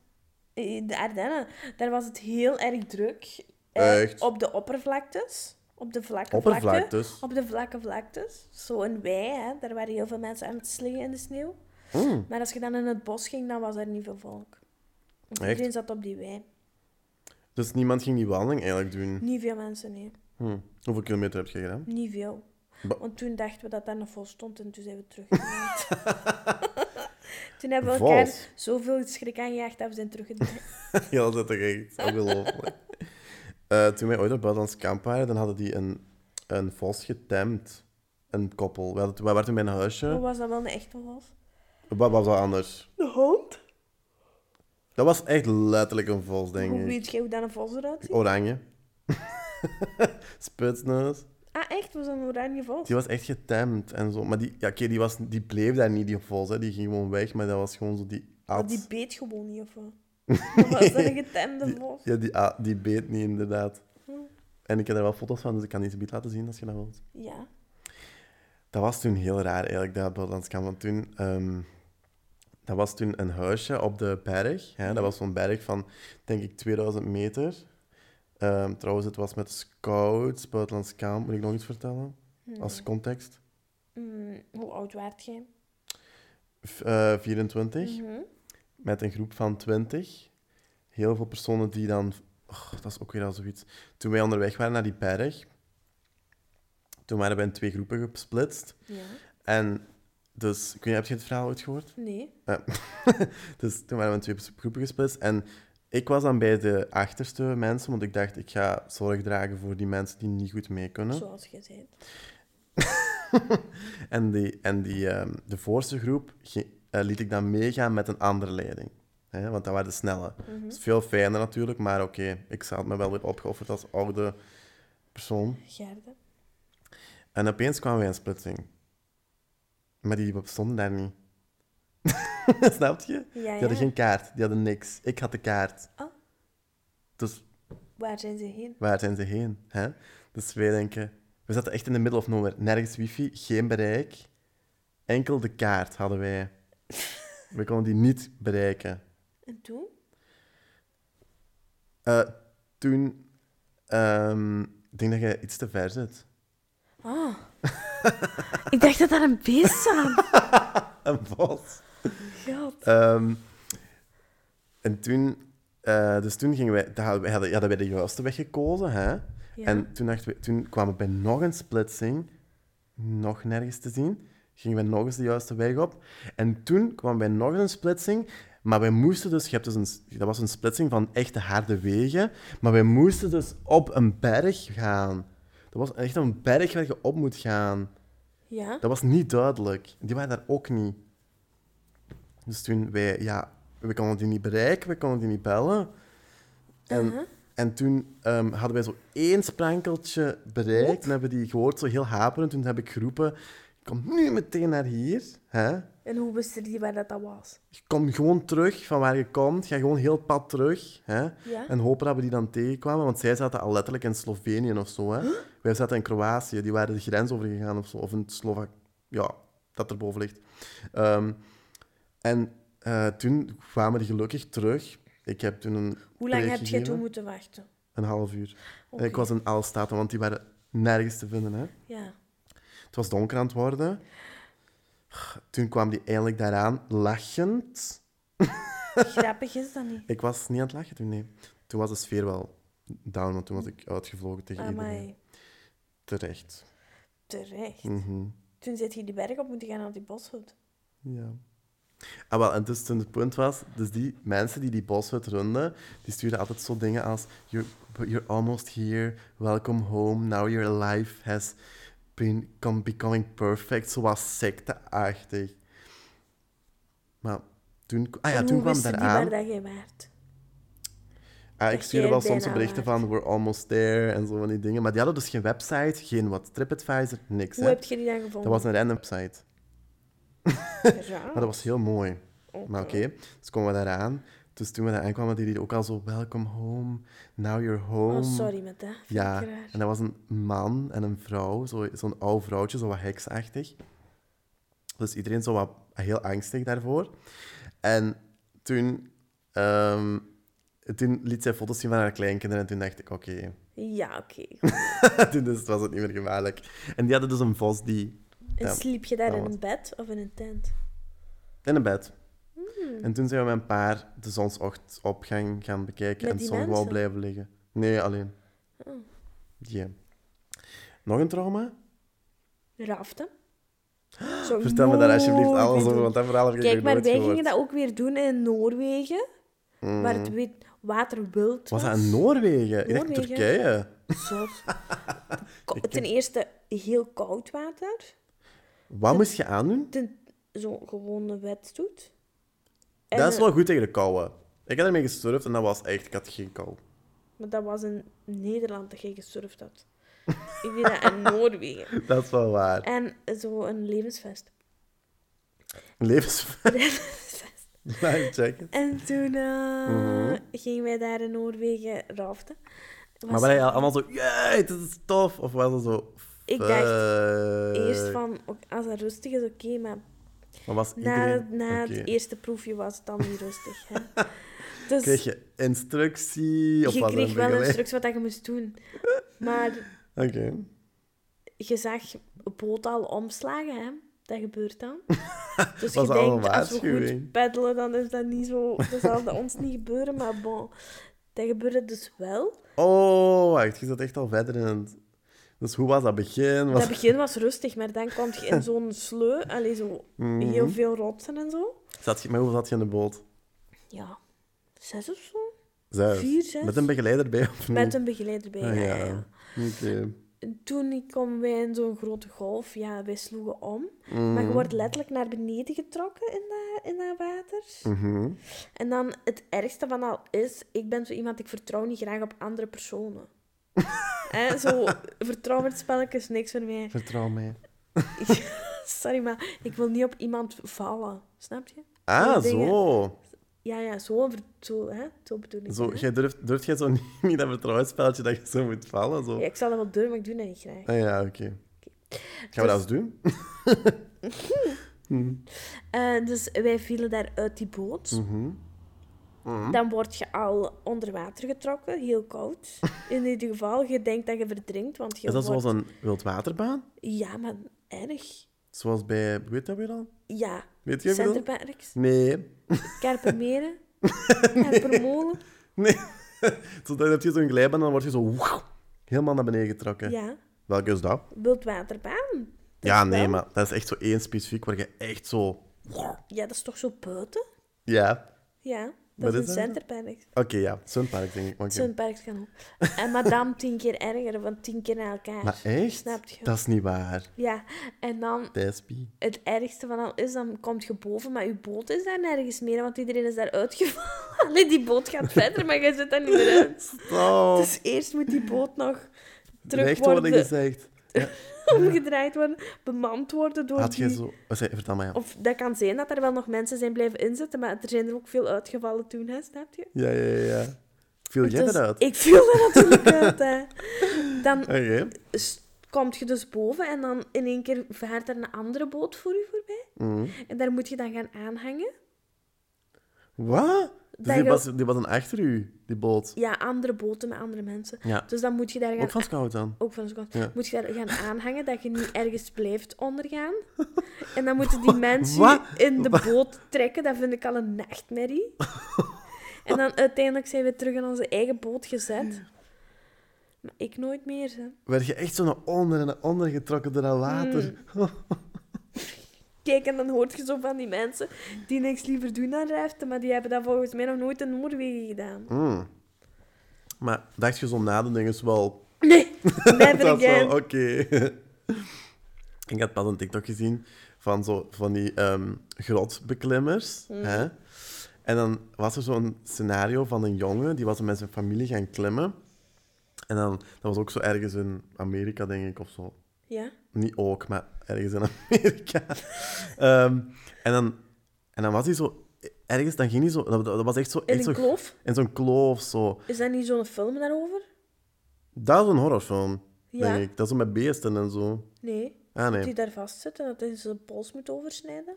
B: In de Ardennen, daar was het heel erg druk.
A: Echt?
B: Op de oppervlaktes. Op de vlakke vlakte.
A: Oppervlaktes.
B: Op de vlakke vlaktes. Zo in wei, hè. Daar waren heel veel mensen aan het slingen in de sneeuw.
A: Mm.
B: Maar als je dan in het bos ging, dan was er niet veel volk. Want
A: Echt?
B: Iedereen zat op die wei.
A: Dus niemand ging die wandeling eigenlijk doen.
B: Niet veel mensen, nee.
A: Hm. Hoeveel kilometer heb je gedaan?
B: Niet veel.
A: Ba-
B: Want toen dachten we dat daar nog vol stond en toen zijn we teruggedraaid. toen hebben we
A: Vals.
B: elkaar zoveel schrik aangejaagd dat we zijn teruggedraaid.
A: Ja, dat is toch echt ongelooflijk. Eh, toen wij ooit op Buitenlands kamp waren, dan hadden die een, een vos getemd. Een koppel. We, hadden, we waren toen bij een
B: Hoe
A: huisje.
B: was dat wel een echte was?
A: Wat was dat anders?
B: De hond?
A: Dat was echt letterlijk een vos,
B: Hoe
A: denk ik.
B: weet jij hoe dan een vos eruit ziet?
A: Oranje. Spitsneus.
B: Ah, echt? Was dat een oranje vos?
A: Die was echt getemd en zo. Maar die, ja, oké, die, was, die bleef daar niet, die vos. Hè. Die ging gewoon weg, maar dat was gewoon zo die
B: Maar
A: at.
B: die beet gewoon niet, of wat? Dat was dat een getemde
A: Die-
B: vos?
A: Ja, die, a- die beet niet, inderdaad.
B: Hm.
A: En ik heb daar wel foto's van, dus ik kan die zometeen laten zien als je dat wilt.
B: Ja.
A: Dat was toen heel raar eigenlijk, dat Badlandskamp. Want toen, ehm, dat was toen een huisje op de berg. Hè? Dat was zo'n berg van, denk ik, 2000 meter. Ehm, trouwens, het was met scouts, Buitenlandskamp. Moet ik nog iets vertellen? Als context.
B: Mm, hoe oud waart jij?
A: V- eh, 24.
B: Mhm.
A: met een groep van 20. Heel veel personen die dan. Och, dat is ook weer al zoiets. Toen wij onderweg waren naar die berg, toen waren wij in twee groepen gesplitst.
B: Ja.
A: En dus, ik weet niet, heb je het verhaal ooit gehoord?
B: Nee.
A: Dus toen waren we in twee groepen gesplitst. En ik was dan bij de achterste mensen, want ik dacht, ik ga zorg dragen voor die mensen die niet goed mee kunnen.
B: Zoals je zei.
A: En, die, en die, ehm, de voorste groep ge- eh, liet ik dan meegaan met een andere leiding. Hè, want dat waren de snelle.
B: Mhm.
A: Dat is veel fijner natuurlijk, maar oké, ik had me wel weer opgeofferd als oude persoon.
B: Gerda.
A: En opeens kwamen wij in splitsing. Maar die stonden daar niet. Snap je?
B: Ja,
A: Die
B: ja.
A: hadden geen kaart, die hadden niks. Ik had de kaart.
B: Oh.
A: Dus
B: Waar zijn ze heen?
A: waar zijn ze heen? Hè? Dus wij denken, we zaten echt in de middle of nowhere. Nergens wifi, geen bereik. Enkel de kaart hadden wij. We konden die niet bereiken.
B: En toen?
A: Eh, toen, ehm, ik denk dat jij iets te ver zit.
B: Ah. ik dacht dat daar een beest zat.
A: Een vos.
B: God.
A: Ehm, en toen, eh, dus toen gingen wij, daar hadden wij- hadden, hadden wij de juiste weg gekozen. Hè?
B: Ja.
A: En toen, dachten we, toen kwamen we bij nog een splitsing, nog nergens te zien. Gingen wij nog eens de juiste weg op. En toen kwamen wij nog eens een splitsing. Maar wij moesten dus, je hebt dus een, dat was een splitsing van echte harde wegen. Maar wij moesten dus op een berg gaan. Dat was echt een berg waar je op moet gaan.
B: Ja?
A: Dat was niet duidelijk. Die waren daar ook niet. Dus toen wij, ja, we konden die niet bereiken, we konden die niet bellen. En,
B: Aha.
A: en toen ehm, hadden wij zo één sprankeltje bereikt. En hebben we die gehoord, zo heel haperend. Toen heb ik geroepen, kom nu meteen naar hier. Hè?
B: En hoe wist je waar dat, dat was?
A: Je komt gewoon terug van waar je komt. Ga gewoon heel het pad terug. Hè?
B: Ja?
A: En hopen dat we die dan tegenkwamen. Want zij zaten al letterlijk in Slovenië of zo. Hè? Wij zaten in Kroatië. Die waren de grens overgegaan of zo. Of in Slovak... Ja, dat erboven ligt. Ehm, en eh, toen kwamen die gelukkig terug. Ik heb toen een...
B: Hoe lang
A: bericht
B: heb jij
A: gegeven.
B: toen moeten wachten?
A: Een half uur.
B: Oké.
A: Ik was in Alstaten, want die waren nergens te vinden. Hè?
B: Ja.
A: Het was donker aan het worden. Toen kwam die eindelijk daaraan, lachend.
B: Grappig is dat niet.
A: Ik was niet aan het lachen toen, nee. Toen was de sfeer wel down, want toen was ik uitgevlogen tegen iedereen.
B: Amai.
A: Terecht.
B: Terecht.
A: Mhm.
B: Toen zit je die berg op moeten gaan naar die boshut.
A: Ja. Ah, wel, en dus toen het punt was, dus die mensen die die boshut runden, die sturen altijd zo dingen als you're, you're almost here, welcome home, now your life has been come- becoming perfect, zoals secteachtig. Maar toen, ah ja,
B: En
A: toen
B: hoe
A: kwam
B: wisten die waar
A: daaraan,
B: dat jij waart?
A: ah, ik
B: dat
A: stuurde
B: jij
A: wel soms
B: bijna
A: berichten
B: waard?
A: van we're almost there en zo van die dingen, maar die hadden dus geen website, geen wat, TripAdvisor, niks.
B: Hoe
A: hè.
B: heb je die dan
A: Dat
B: gevonden?
A: was een random site,
B: Raar. Oh,
A: maar dat was heel mooi. Maar oké, dus komen we daaraan. Dus toen we daar aankwamen, deden die ook al zo, welcome home, now you're home.
B: Oh, sorry met dat. Vind
A: Ja,
B: ik raar.
A: en dat was een man en een vrouw, zo- zo'n oud vrouwtje, zo wat heksachtig. Dus iedereen zo wat heel angstig daarvoor. En toen, ehm, toen liet zij foto's zien van haar kleinkinderen en toen dacht ik, oké,
B: Ja, oké.
A: toen dus was het niet meer gevaarlijk. En die hadden dus een vos die Ja,
B: En sliep je daar
A: dat
B: in
A: was-
B: een bed of in een tent?
A: in een bed.
B: Hmm.
A: En toen zijn we met een paar de zonsochtopgang gaan bekijken
B: Met
A: en
B: die
A: soms wel
B: mensen?
A: blijven liggen. Nee, alleen.
B: Oh.
A: Die. eh. Nog een trauma?
B: Raften. Zou ik
A: Vertel me daar
B: nooit
A: alsjeblieft alles
B: weer
A: over,
B: doen.
A: want dat verhaal heb ik
B: Kijk,
A: nog
B: maar
A: nooit
B: wij
A: gehoord.
B: gingen dat ook weer doen in Noorwegen,
A: Mm.
B: waar het wit- water wild
A: Was
B: was.
A: dat in Noorwegen? Ik dacht in
B: Noorwegen.
A: Turkije.
B: Zot. Ko- Ten eerste heel koud water,
A: Wat moest je aandoen?
B: ten, zo'n gewone wetstoet. En,
A: Dat is
B: eh,
A: wel goed tegen de kouwe. Ik heb ermee gesturfd en dat was echt... Ik had geen kou.
B: Maar dat was in Nederland dat je gesurfd had. Ik deed dat in Noorwegen.
A: Dat is wel waar.
B: En zo een levensvest.
A: Levensfeit. Life jacket.
B: En toen eh,
A: Mhm.
B: gingen wij daar in Noorwegen raften. Was-
A: Maar waren jij allemaal zo... Jee, dit is tof. Of was het zo...
B: Ik dacht
A: "Fuck."
B: Eerst van, ok, als het rustig is, oké, maar
A: Maar was
B: na,
A: iedereen...
B: het- na
A: Oké.
B: het eerste proefje was het dan niet rustig. Hè? Dus
A: Kreeg je instructie? Of
B: je
A: was er
B: kreeg wel
A: begeleid-
B: instructies wat dat je moest doen. Maar
A: Oké.
B: je zag een boot al omslagen, hè? Dat gebeurt dan.
A: Was
B: Dus je
A: dat al een
B: denkt, als we
A: waarschuwing?
B: goed peddelen, dan is dat niet zo... Dat zal dat ons niet gebeuren, maar bon. Dat gebeurde dus wel.
A: Oh, wacht. Je zat echt al verder in het... Dus hoe was dat begin? Was...
B: Dat begin was rustig, maar dan kwam je in zo'n sleu. Allee, zo
A: Mhm.
B: heel veel rotsen en zo.
A: Zat je... Met hoeveel zat je in de boot?
B: Ja, zes of zo.
A: Zelf.
B: Vier, zes.
A: Met een begeleider bij of niet?
B: Met een begeleider bij.
A: Ah,
B: ja,
A: ja.
B: ja, ja.
A: Oké.
B: En Toen kwamen wij in zo'n grote golf. Ja, wij sloegen om.
A: Mhm.
B: Maar je wordt letterlijk naar beneden getrokken in dat, in dat water.
A: Mhm.
B: En dan het ergste van al is, ik ben zo iemand, ik vertrouw niet graag op andere personen. Hè, zo, vertrouwensspelletjes, niks voor mij.
A: Vertrouw mij.
B: Sorry, maar ik wil niet op iemand vallen. Snap je?
A: Ah,
B: Zo'n dingen.
A: zo.
B: Ja, ja, zo, ver- zo, hè, zo bedoel ik.
A: zo
B: het, hè.
A: jij durft, durft jij zo niet, niet dat vertrouwensspelletje dat je zo moet vallen? Zo.
B: Ja, ik zal dat wel doen, maar ik doe dat niet graag.
A: Ah ja, oké. Gaan we
B: Dus-
A: dat eens doen?
B: Eh, dus wij vielen daar uit die boot.
A: Mhm.
B: Dan word je al onder water getrokken, heel koud. In ieder geval, je denkt dat je verdrinkt, want je
A: Is dat
B: wordt...
A: zoals een wildwaterbaan?
B: Ja, maar erg.
A: Zoals bij... Weet dat weer al?
B: Ja.
A: Weet je wel?
B: Centerparks,
A: Nee.
B: Kerpenmeren, Kerpenmolen.
A: Zo, dan heb je zo'n glijbaan en dan word je zo... woe, helemaal naar beneden getrokken.
B: Ja,
A: Welke is dat?
B: wildwaterbaan.
A: ja, nee,
B: wel.
A: maar dat is echt zo één specifiek waar je echt zo...
B: Ja, dat is toch zo buiten?
A: Ja.
B: Ja, dat
A: Wat
B: is
A: is
B: een
A: dat?
B: Centerparks.
A: Oké, ja. Zo'n park, denk ik. Maar, oké.
B: Zo'n park kan ook. En madame tien keer erger, want tien keer na elkaar.
A: maar echt?
B: Snap je?
A: Dat is niet waar.
B: Ja, en dan
A: Thijspie.
B: het ergste van al is, dan komt je boven, maar je boot is daar nergens meer, want iedereen is daar uitgevallen. Allee, die boot gaat verder, maar jij zit daar niet meer uit.
A: Oh,
B: Dus eerst moet die boot nog terug
A: recht worden
B: worden,
A: gezegd.
B: omgedraaid worden, bemand worden door
A: Had jij
B: die...
A: zo... oh, zeg, vertel maar, ja.
B: Of dat kan zijn dat er wel nog mensen zijn blijven inzitten, maar er zijn er ook veel uitgevallen toen, hè, snap je?
A: Ja, ja, ja, ja. Viel jij
B: Dus
A: eruit?
B: Ik viel er natuurlijk uit, hè. Dan
A: Oké.
B: s- komt je dus boven en dan in één keer vaart er een andere boot voor je voorbij.
A: Mhm.
B: En daar moet je dan gaan aanhangen.
A: Wat? Dus
B: Dat
A: die
B: je-
A: was, die was dan achter u, die boot.
B: Ja, andere boten met andere mensen.
A: Ja.
B: Dus dan moet je daar gaan...
A: Ook van Scout dan.
B: ook van Scott.
A: Ja.
B: Moet je daar gaan aanhangen dat je niet ergens blijft ondergaan. En dan moeten die mensen
A: Wat?
B: je in de boot trekken. Dat vind ik al een nachtmerrie. En dan uiteindelijk zijn we terug in onze eigen boot gezet. Maar ik nooit meer, hè.
A: Werd je echt zo naar onder en naar onder getrokken door dat water?
B: Kijk, en dan hoort je zo van die mensen die niks liever doen dan raften, maar die hebben dat volgens mij nog nooit in Noorwegen gedaan.
A: Mm. Maar dacht je zo na de dingen is wel...
B: Nee, never
A: Dat is wel
B: again.
A: oké. ik had pas een TikTok gezien van, zo, van die ehm, grotbeklimmers. Hè? En dan was er zo'n scenario van een jongen, die was met zijn familie gaan klimmen. En dan, dat was ook zo ergens in Amerika, denk ik, of zo.
B: Ja,
A: Niet ook, maar ergens in Amerika. Ehm, en, dan, en dan was hij zo ergens, dan ging hij zo... Dat, dat was echt zo...
B: In
A: echt
B: een
A: zo-
B: kloof?
A: In zo'n kloof, zo.
B: Is dat niet zo'n film daarover?
A: Dat is een horrorfilm,
B: Ja.
A: denk ik. Dat is zo met beesten en zo.
B: Nee.
A: Ah, nee.
B: Die daar vastzit en dat hij zijn pols moet oversnijden?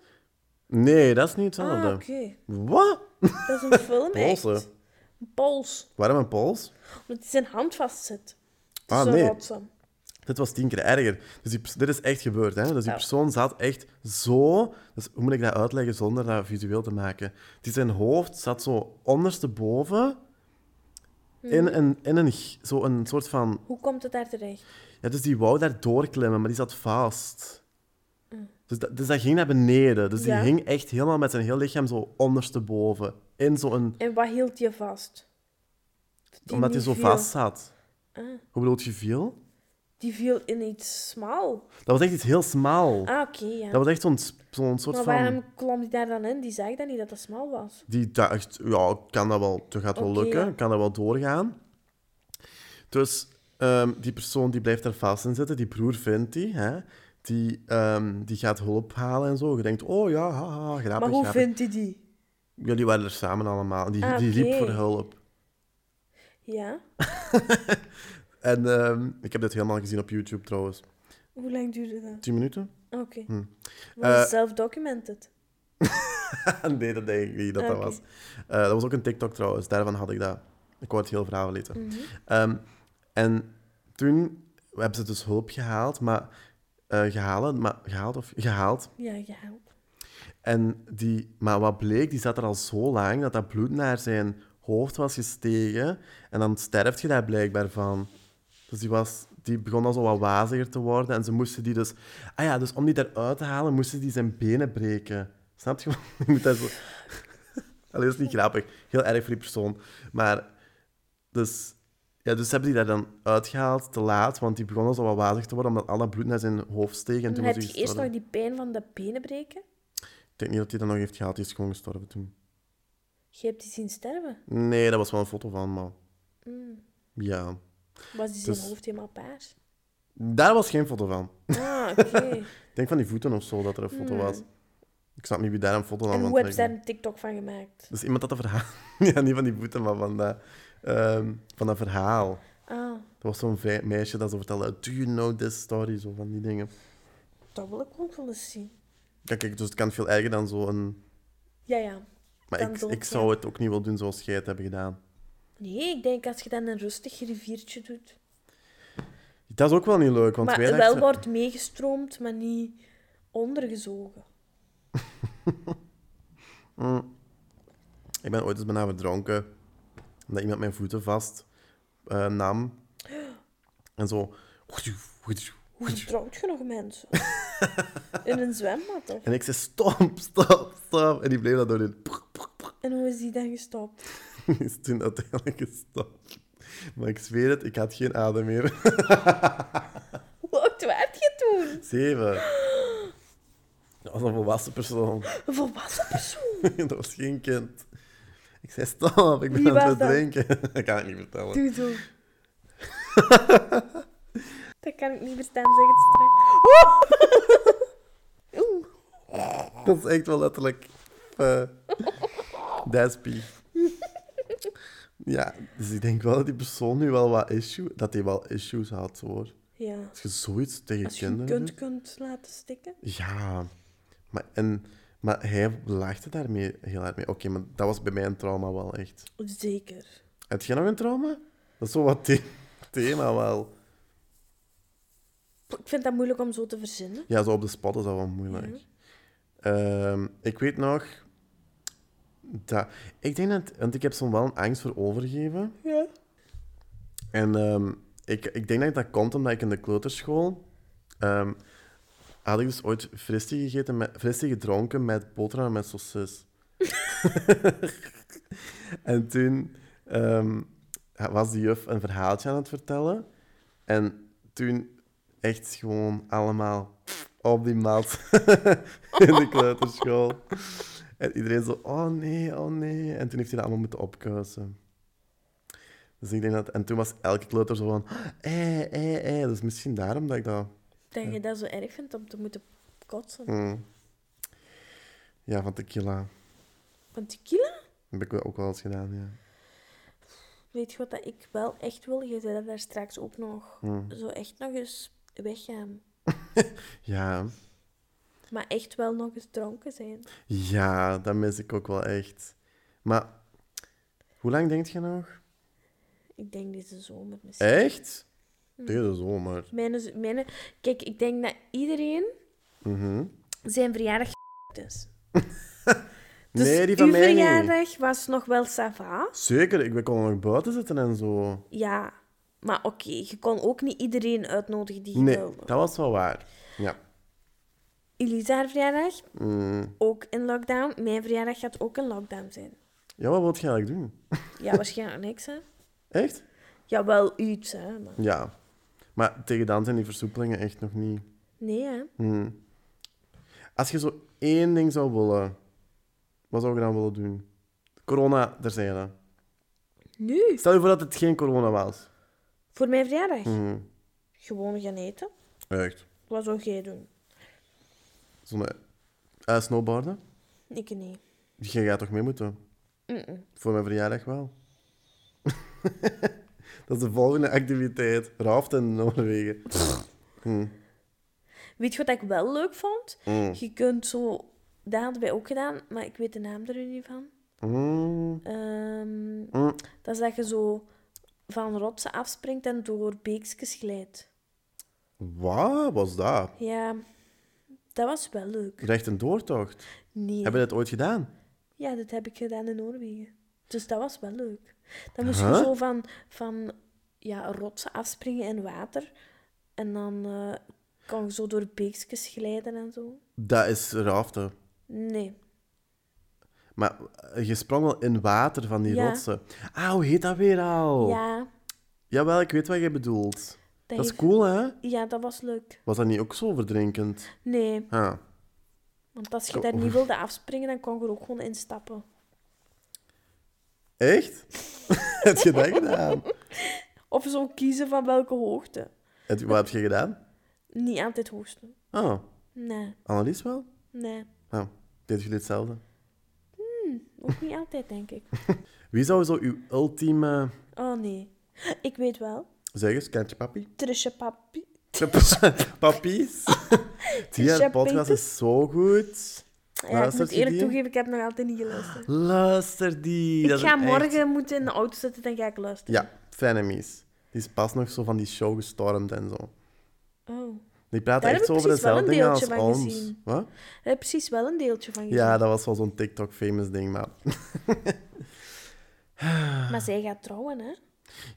A: Nee, dat is niet
B: Ah,
A: hetzelfde.
B: oké.
A: Wat?
B: Dat is een film, echt.
A: Polsen.
B: Een pols.
A: Waarom een pols?
B: Omdat hij zijn hand vastzit. Het is
A: Ah,
B: zo
A: nee.
B: rotsam.
A: Dit was tien keer erger. Dus die, pers- dit is echt gebeurd. Hè? Dus die
B: Ja.
A: persoon zat echt zo... Dus hoe moet ik dat uitleggen zonder dat visueel te maken? Die zijn hoofd zat zo ondersteboven...
B: Hmm.
A: In, een, in een, g- zo een soort van
B: Hoe komt het daar terecht?
A: Ja, dus die wou daar doorklimmen, maar die zat vast. Dus, dat, dus dat ging naar beneden. Dus
B: Hmm. Ja.
A: die hing echt helemaal met zijn heel lichaam zo ondersteboven. In zo'n...
B: En wat hield je vast? Die
A: Omdat hij
B: niet
A: zo
B: viel.
A: vast zat.
B: Ah.
A: Hoe bedoel je viel?
B: Die viel in iets smal.
A: Dat was echt iets heel smal.
B: Ah, oké, ja.
A: Dat was echt zo'n sp- zo'n soort
B: Maar
A: van...
B: waarom klom die daar dan in? Die zei dan niet dat dat smal was.
A: Die dacht, ja, kan dat wel, dat gaat wel
B: Oké,
A: lukken,
B: ja.
A: kan dat wel doorgaan. Dus ehm, die persoon die blijft daar vast in zitten, die broer vindt die, hè. Die, ehm, die gaat hulp halen en zo. Je denkt, oh ja, haha, grappig,
B: maar hoe
A: grappig.
B: vindt hij die?
A: Ja, die waren er samen allemaal. Die,
B: Ah,
A: die
B: oké.
A: liep voor hulp.
B: Ja?
A: En ehm, ik heb dit helemaal gezien op YouTube trouwens.
B: Hoe lang duurde dat?
A: 10 minuten?
B: Oké.
A: Hm.
B: Was het
A: Eh,
B: self-documented?
A: nee, dat denk ik niet dat
B: Oké.
A: dat was. Eh, dat was ook een TikTok trouwens, daarvan had ik dat. Ik wou het heel verhaal weten. Ehm, en toen hebben ze dus hulp gehaald, maar, eh gehalen, maar gehaald of gehaald.
B: Ja, gehaald.
A: En die, maar wat bleek, die zat er al zo lang dat dat bloed naar zijn hoofd was gestegen. En dan sterft je daar blijkbaar van. Dus die, was, die begon al zo wat waziger te worden. En ze moesten die dus... Ah ja, dus om die eruit te halen, moesten die zijn benen breken. Snap je? Je moet daar zo... Allee, dat is niet grappig. Heel erg voor die persoon. Maar... Dus... Ja, dus hebben die daar dan uitgehaald, te laat. Want die begon al zo wat wazig te worden, omdat al dat bloed naar zijn hoofd steeg. En
B: Dan
A: toen
B: heb
A: moest
B: je
A: hij
B: eerst nog
A: gestorven.
B: die pijn van de benen breken.
A: Ik denk niet dat hij dat nog heeft gehaald. Die is gewoon gestorven toen.
B: Je hebt die zien sterven.
A: Nee, dat was wel een foto van, maar...
B: Mm.
A: Ja.
B: Was die zijn
A: Dus-
B: hoofd helemaal paars?
A: Daar was geen foto van.
B: Ah, oké.
A: Ik denk van die voeten of zo dat er een foto was. Ik snap niet wie daar een foto van
B: en hoe
A: wil
B: hebben ze daar
A: trekken.
B: Mm. een TikTok van gemaakt?
A: Dus iemand had een verhaal... ja, niet van die voeten, maar van dat, ehm, van dat verhaal.
B: Ah,
A: Er was zo'n vij- meisje dat zo vertelde... Do you know this story? Zo van die dingen.
B: dat wil ik ook wel eens zien.
A: Ja, kijk, dus het kan veel erger dan zo'n...
B: Ja, ja.
A: Maar
B: Dan
A: ik,
B: dood,
A: ik
B: ja.
A: zou het ook niet willen doen zoals jij het hebt gedaan.
B: Nee, ik denk als je dan een rustig riviertje doet.
A: Dat is ook wel niet leuk, want wij
B: maar wel
A: dachten...
B: wordt meegestroomd, maar niet ondergezogen.
A: Ik ben ooit eens bijna verdronken. Omdat iemand mijn voeten vast eh, nam. En zo...
B: Hoe vertrouwt je nog mensen? In een zwembad, toch?
A: En ik zei, stop, stop, stop. En die bleef dat door doen. Puk, puk, puk.
B: En hoe is die dan gestopt?
A: Die is toen uiteindelijk gestopt. Maar ik zweer het, ik had geen adem meer.
B: Hoe oud werd je toen?
A: Zeven. Dat was een volwassen persoon.
B: Een volwassen persoon.
A: Dat was geen kind. Ik zei, stop, ik ben
B: Wie
A: aan het
B: was dat?
A: drinken. Dat kan ik niet vertellen.
B: Doe zo. Dat kan ik niet verstaan, zeg het straks. Oeh. Oeh.
A: Dat is echt wel letterlijk. eh Daspie. Ja, dus ik denk wel dat die persoon nu wel wat issue, dat hij wel issues had hoor.
B: Ja.
A: Als je zoiets tegen
B: Als je een
A: kinderen
B: kunt,
A: doet.
B: kunt laten stikken.
A: Ja, maar, en, maar hij lachte daarmee heel hard mee. Oké, maar dat was bij mij een trauma wel echt.
B: Zeker.
A: Heb jij nog een trauma? Dat is zo wat the- thema wel.
B: Ik vind dat moeilijk om zo te verzinnen.
A: Ja, zo op de spot is dat wel moeilijk. Ehm, ik weet nog dat. Ik denk dat. Want ik heb zo'n wel een angst voor overgeven.
B: Ja.
A: En ehm, ik, ik denk dat dat komt omdat ik in de kleuterschool. ehm, had ik dus ooit fristie gegeten met, fristie gedronken met boterham en met saucis. en toen ehm, was die juf een verhaaltje aan het vertellen. En toen echt gewoon allemaal op die mat in de kleuterschool. En iedereen zo, oh nee, oh nee. En toen heeft hij dat allemaal moeten opkuisen. Dus ik denk dat... En toen was elke kleuter zo van... Eh, eh, eh. Dus misschien daarom dat ik dat...
B: Dat je dat zo erg vindt om te moeten kotsen.
A: Hmm. Ja, van tequila.
B: Van tequila?
A: Dat heb ik ook wel eens gedaan, ja.
B: Weet je wat dat ik wel echt wil? Je zei dat daar straks ook nog. Zo echt nog eens weggaan.
A: Ja,
B: Maar echt wel nog eens dronken zijn.
A: ja dat mis ik ook wel echt. Maar hoe lang denk je nog?
B: Ik denk deze zomer misschien.
A: Echt?
B: Mm.
A: Deze zomer.
B: Mijn, z- mijn, kijk, ik denk dat iedereen
A: Mhm.
B: zijn verjaardag is. Dus
A: nee, die van
B: uw
A: mij niet.
B: verjaardag was nog wel sava.
A: Zeker, ik we konden nog buiten zitten en zo.
B: Ja, maar oké, je kon ook niet iedereen uitnodigen die je
A: Nee,
B: wilde.
A: dat was wel waar. Ja.
B: Elisa haar verjaardag,
A: Mm.
B: ook in lockdown. Mijn verjaardag gaat ook in lockdown zijn.
A: Ja, wat wil je eigenlijk doen?
B: Ja, waarschijnlijk niks, hè.
A: Echt?
B: Ja, wel iets, hè. Maar...
A: Ja. Maar tegen dan zijn die versoepelingen echt nog niet.
B: Nee, hè.
A: Mm. Als je zo één ding zou willen, wat zou je dan willen doen? Corona terzijde.
B: Nu?
A: Stel je voor dat het geen corona was.
B: Voor mijn verjaardag.
A: Mhm.
B: Gewoon gaan eten.
A: Echt?
B: Wat zou jij doen?
A: Zonder eh, snowboarden?
B: Ik niet.
A: Je gaat toch mee moeten?
B: Mm-mm.
A: Voor mijn verjaardag wel. dat is de volgende activiteit. Raft in Noorwegen. Hm.
B: Weet je wat ik wel leuk vond?
A: Mm.
B: Je kunt zo... Dat hadden wij ook gedaan, maar ik weet de naam er nu niet van.
A: Mm.
B: Ehm,
A: Mm.
B: dat is dat je zo van rotsen afspringt en door beekjes glijdt.
A: Wat was dat?
B: Ja, dat was wel leuk.
A: Recht een doortocht.
B: Nee.
A: Hebben we dat ooit gedaan?
B: Ja, dat heb ik gedaan in Noorwegen. Dus dat was wel leuk. Dan moest je
A: Huh?
B: zo van, van ja, rotsen afspringen in water. En dan eh, kon je zo door beekjes glijden en zo.
A: Dat is raften.
B: Nee.
A: Maar eh, je sprong wel in water van die
B: Ja.
A: rotsen. Ah, hoe heet dat weer al?
B: Ja,
A: Jawel, ik weet wat je bedoelt.
B: dat,
A: Oh. Dat is
B: heeft-
A: cool, hè?
B: ja, dat was leuk.
A: Was dat niet ook zo verdrinkend?
B: Nee,
A: Ah.
B: want als je daar niet wilde afspringen, dan kon je er ook gewoon instappen.
A: Echt? heb je dat gedaan?
B: Of zo kiezen van welke hoogte.
A: Heb je- wat heb je gedaan?
B: Niet altijd hoogste.
A: Oh,
B: Nee,
A: Annelies wel?
B: nee.
A: Nou, deed jullie hetzelfde?
B: Ook niet altijd, denk ik.
A: Wie zou zo uw ultieme...
B: Oh nee. Ik weet wel.
A: Zeg eens, kent je papi?
B: Trisha Papi.
A: Papies? Die haar podcast is zo goed.
B: Ja, ik
A: Luistert
B: moet
A: je
B: eerlijk
A: die?
B: toegeven, ik heb nog altijd niet geluisterd.
A: Luister die.
B: Ik
A: dat is
B: ga
A: echt-
B: morgen moeten in de auto zitten, dan ga ik luisteren.
A: Ja, Frenemies. Die is pas nog zo van die show gestormd en zo.
B: Oh.
A: Die praat
B: Daar
A: echt
B: heb
A: zo
B: ik
A: over
B: precies wel een
A: dezelfde dingen als
B: deeltje van
A: ons.
B: gezien.
A: Wat?
B: Daar heb ik precies wel een deeltje van gezien.
A: Ja, dat was wel zo'n TikTok-famous ding, maar...
B: Maar zij gaat trouwen, hè?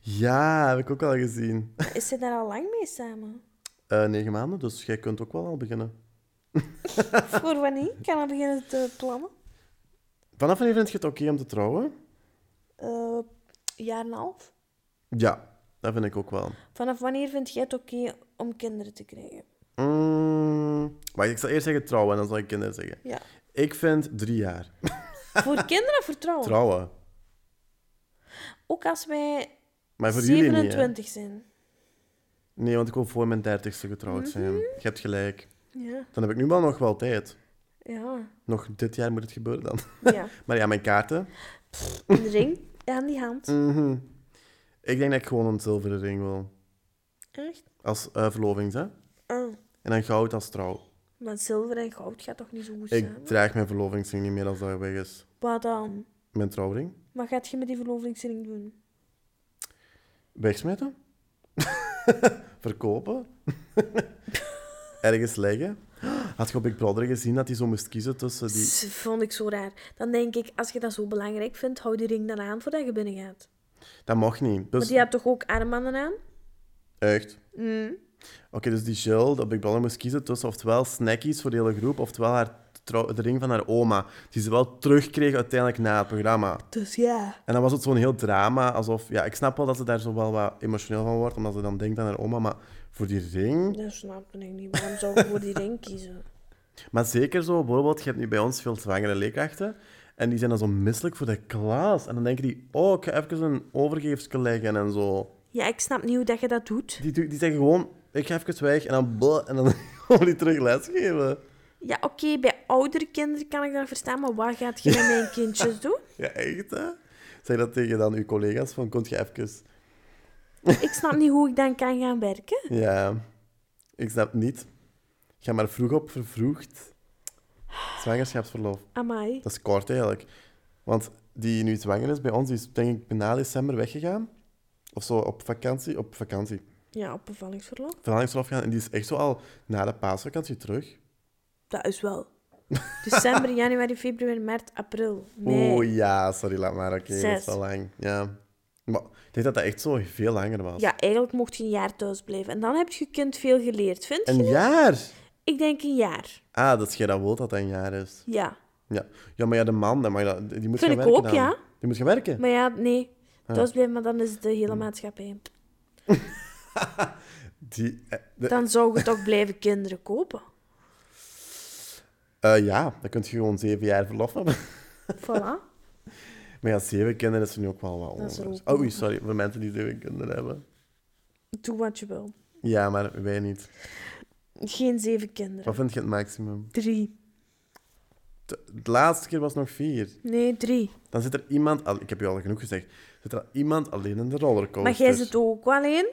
A: Ja, heb ik ook al gezien.
B: Maar Is ze daar al lang mee samen?
A: Eh, negen maanden, dus jij kunt ook wel al beginnen.
B: Voor wanneer? Ik kan al beginnen te plannen.
A: Vanaf wanneer vind je het oké om te trouwen?
B: Eh jaar en een half.
A: Ja, dat vind ik ook wel.
B: Vanaf wanneer vind jij het oké om kinderen te krijgen?
A: Mm, wacht, ik zal eerst zeggen trouwen en dan zal ik kinderen zeggen.
B: Ja.
A: Ik vind drie jaar.
B: Voor kinderen of voor trouwen?
A: Trouwen.
B: Ook als wij
A: Maar voor jullie niet, hè?
B: 27 zijn.
A: Nee, want ik wil voor mijn dertigste getrouwd zijn. Je hebt gelijk.
B: Ja.
A: Dan heb ik nu wel nog wel tijd.
B: Ja.
A: Nog dit jaar moet het gebeuren dan.
B: ja.
A: Maar ja, mijn kaarten.
B: Een ring aan die hand.
A: Mhm. Ik denk dat ik gewoon een zilveren ring wil.
B: Echt?
A: Als eh verlovings, hè?
B: Ah.
A: En dan goud als trouw.
B: Maar zilver en goud gaat toch niet zo goed
A: Ik
B: samen?
A: draag mijn verlovingsring niet meer als dat weg is.
B: Wat dan?
A: Mijn trouwring.
B: Wat gaat je met die verlovingsring doen?
A: Wegsmeten? Verkopen? Ergens leggen? Had je op Big Brother gezien dat hij zo moest kiezen tussen die...
B: Dat vond ik zo raar. Dan denk ik, als je dat zo belangrijk vindt, hou die ring dan aan voordat je binnengaat.
A: Dat mocht niet.
B: Want
A: Dus
B: die had toch ook armbanden aan?
A: echt. Oké, dus die Jill, dat Big Brother moest kiezen tussen oftewel snackies voor de hele groep, oftewel haar trouw- de ring van haar oma, die ze wel terugkreeg uiteindelijk na het programma.
B: Dus ja.
A: En dan was het zo'n heel drama, alsof... Ja, ik snap wel dat ze daar zo wel wat emotioneel van wordt, omdat ze dan denkt aan haar oma, maar voor die ring...
B: Dat snap ik niet. Waarom zou ik voor die ring kiezen?
A: Maar zeker zo, bijvoorbeeld, je hebt nu bij ons veel zwangere leerkrachten. En die zijn dan zo misselijk voor de klas. En dan denken die, oh, ik ga even een overgeefsel leggen en zo.
B: Ja, ik snap niet hoe dat je dat doet.
A: Die, doen- die zeggen gewoon, ik ga even weg en dan blah, en dan gewoon die terug lesgeven.
B: Ja, oké, bij oudere kinderen kan ik dat verstaan, maar wat gaat je met mijn kindjes doen?
A: Ja, echt hè? Zeg dat tegen dan uw collega's van, kon je even...
B: Ik snap niet hoe ik dan kan gaan werken.
A: Ja, ik snap niet. Ga maar vroeg op vervroegd. Zwangerschapsverlof.
B: Amai.
A: Dat is kort eigenlijk. Want die nu zwanger is bij ons, die is denk ik na december weggegaan. Of zo op vakantie, op vakantie.
B: Ja, op bevallingsverlof.
A: Verlangingsverlof gaan. En die is echt zo al na de paasvakantie terug.
B: Dat is wel. December, januari, februari, maart, april. Nee.
A: Oeh ja, sorry, laat maar. Oké, dat
B: Zes.
A: is wel lang. Ja. Maar ik denk dat dat echt zo veel langer was.
B: Ja, eigenlijk mocht je een jaar thuis blijven. En dan heb je kind veel geleerd, vind je?
A: Een jaar!
B: Ik denk een jaar.
A: Ah, dat jij dat wilt dat dat een jaar is.
B: Ja.
A: Ja, ja maar ja, de man, dat mag dat, die moet
B: Vind
A: gaan
B: ik
A: werken
B: ook,
A: dan.
B: ja.
A: Die moet gaan werken.
B: Maar ja, nee. Thuis blijven, maar dan is de
A: Mm.
B: hele maatschappij.
A: Die, eh, de-
B: Dan zou je toch blijven kinderen kopen.
A: eh, ja, dan kun je gewoon zeven jaar verlof hebben.
B: Voilà.
A: Maar ja, zeven kinderen is nu ook wel wat
B: Dat is er
A: onrust.
B: ook
A: Oh, oei, sorry, voor mensen die zeven kinderen hebben.
B: Doe wat je wil.
A: Ja, maar wij niet.
B: Geen zeven kinderen.
A: Wat vind je het maximum?
B: Drie.
A: De, de laatste keer was nog vier.
B: Nee, drie.
A: Dan zit er iemand... Al, ik heb je al genoeg gezegd. Zit er iemand alleen in de rollercoaster.
B: Maar jij zit ook alleen.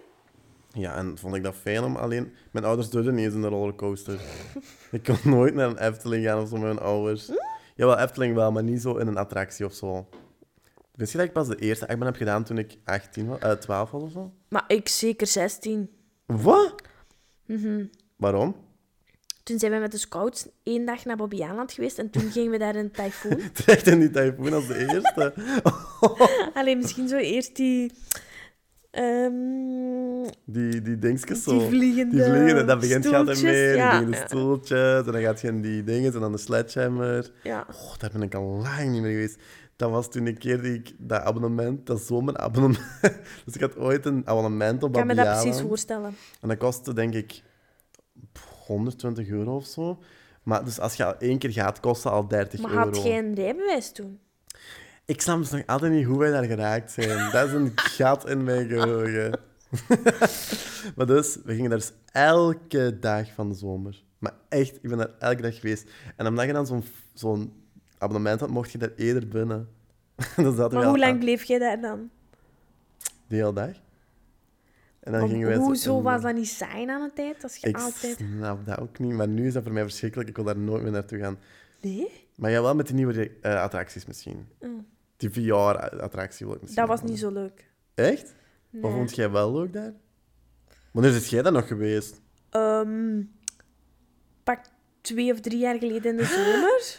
A: Ja, en vond ik dat fijn om alleen... Mijn ouders deden niet eens in de rollercoaster. ik kon nooit naar een Efteling gaan of zo met mijn ouders. Jawel, Efteling wel, maar niet zo in een attractie of zo. Wist je dat ik pas de eerste achtbaan heb gedaan toen ik 18 was, eh, 12 was of zo?
B: Maar ik zeker 16.
A: Wat?
B: Mhm.
A: Waarom?
B: Toen zijn we met de scouts één dag naar Bobbejaanland geweest en toen gingen we daar in tyfoon.
A: Terecht in die tyfoon als de eerste.
B: Alleen misschien zo eerst die. ehm,
A: Die, die dingetjes zo.
B: Die vliegende
A: Die vliegende, dat begint je altijd
B: stoeltjes,
A: mee.
B: ja.
A: Die vliegende stoeltjes, en dan gaat je in die dingen, en dan de sledgehammer.
B: ja.
A: Oh, daar ben ik al lang niet meer geweest. Dat was toen een keer die ik dat abonnement, dat zomerabonnement... dus ik had ooit een abonnement op
B: Ik kan me dat
A: Babiaan.
B: precies voorstellen.
A: En dat kostte, denk ik, 120 euro of zo. Maar dus als je al één keer gaat, kostte al 30
B: Maar
A: euro.
B: had jij een rijbewijs toen?
A: Ik snap dus nog altijd niet hoe wij daar geraakt zijn. Dat is een gat in mijn geheugen. maar dus, we gingen daar dus elke dag van de zomer. Maar echt, ik ben daar elke dag geweest. En omdat je dan zo'n zo'n abonnement had, mocht je daar eerder binnen. dan zaten
B: Maar
A: we
B: hoe
A: al
B: lang bleef jij daar dan?
A: De hele dag. En dan
B: Om-
A: gingen wij zo
B: hoezo
A: in-
B: was dat niet saai aan de tijd? Als je
A: Ik
B: altijd...
A: snap dat ook niet, maar nu is dat voor mij verschrikkelijk. Ik wil daar nooit meer naartoe gaan.
B: Nee?
A: Maar ja, wel met die nieuwe eh, attracties misschien. Die VR-attractie wil ik misschien
B: Mm. Dat was
A: wel.
B: niet zo leuk.
A: Echt? Wat
B: Nee.
A: vond jij wel leuk daar? Wanneer zit jij daar nog geweest?
B: Ehm, pak twee of drie jaar geleden in de zomer.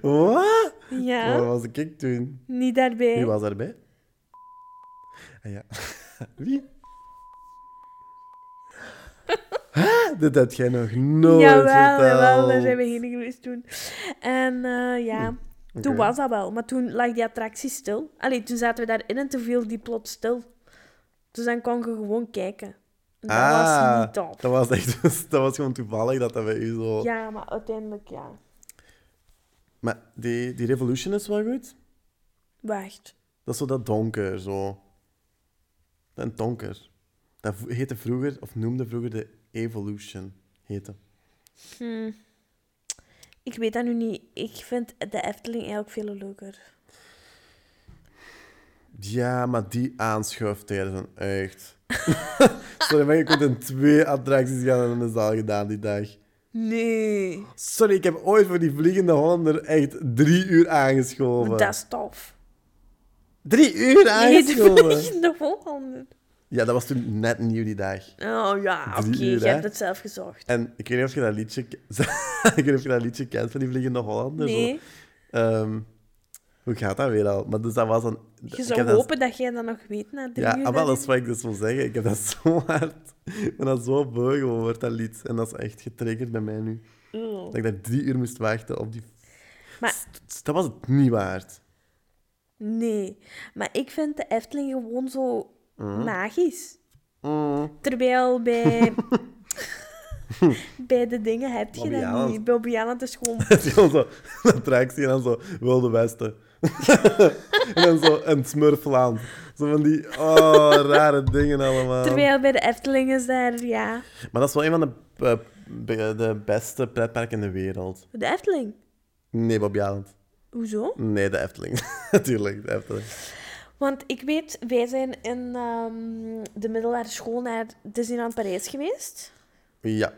A: Wat?
B: Ja,
A: Waar was ik toen?
B: niet daarbij.
A: Wie was daarbij? Ah ja. Wie? Huh? Dit had jij nog nooit
B: jawel,
A: verteld.
B: jawel, daar zijn we heen geweest toen. En eh, ja, toen
A: oké.
B: was dat wel. Maar toen lag die attractie stil. Allee, toen zaten we daarin en toen viel die plots stil. Dus dan kon je gewoon kijken. En dat
A: Ah,
B: was niet tof.
A: Dat was, echt, dat was gewoon toevallig dat dat bij u zo...
B: Ja, maar uiteindelijk ja.
A: Maar die, die Revolution is wel goed.
B: Wacht.
A: Dat is zo dat donker, zo. Dat donker. Dat v- heette vroeger, of noemde vroeger de Evolution. Heette.
B: Hm. Ik weet dat nu niet. Ik vind de Efteling eigenlijk veel leuker.
A: Ja, maar die aanschuiftijden zijn echt... Sorry, maar je kunt in twee attracties gaan en dat is al gedaan die dag.
B: Nee.
A: Sorry, ik heb ooit voor die Vliegende Hollander echt drie uur aangeschoven.
B: Dat is tof.
A: Drie uur
B: Nee, de
A: aangeschoven?
B: vliegende Hollander.
A: Ja, dat was toen net nieuw die dag.
B: Oh ja, oké.
A: Drie uur,
B: Je
A: hè?
B: hebt het zelf gezocht.
A: En ik weet niet of je dat liedje, ke- ik weet niet of je dat liedje kent van die Vliegende Hollander. zo.
B: Nee.
A: Ehm, hoe gaat dat weer al? Maar dus dat was een...
B: Je
A: ik
B: zou
A: heb dat-
B: hopen dat jij dat nog weet na drie
A: Ja,
B: uur.
A: ah, wel, dat is
B: daarin.
A: wat ik dus wil zeggen. Ik heb dat zo hard... Ik ben dat zo beu geworden, dat lied. En dat is echt getriggerd bij mij nu.
B: Eeuw.
A: Dat ik daar drie uur moest wachten op die...
B: Oh. Maar
A: Dat was het niet waard.
B: nee. Maar ik vind de Efteling gewoon zo magisch.
A: Mm.
B: Terwijl bij... bij de dingen heb je
A: Bobby
B: dat
A: Aland.
B: niet. Bobby Aland is gewoon...
A: Het is gewoon zo een attractie en dan zo Wilde Westen. en dan zo een smurfland. Zo van die oh, rare dingen allemaal.
B: Terwijl bij de Efteling is daar, ja...
A: Maar dat is wel een van de eh, be- de beste pretpark in de wereld.
B: De Efteling.
A: Nee, Bobby Aland.
B: Hoezo?
A: Nee, de Efteling. Natuurlijk, de Efteling.
B: Want ik weet, wij zijn in ehm, de middelbare school naar Disneyland Parijs geweest.
A: Ja.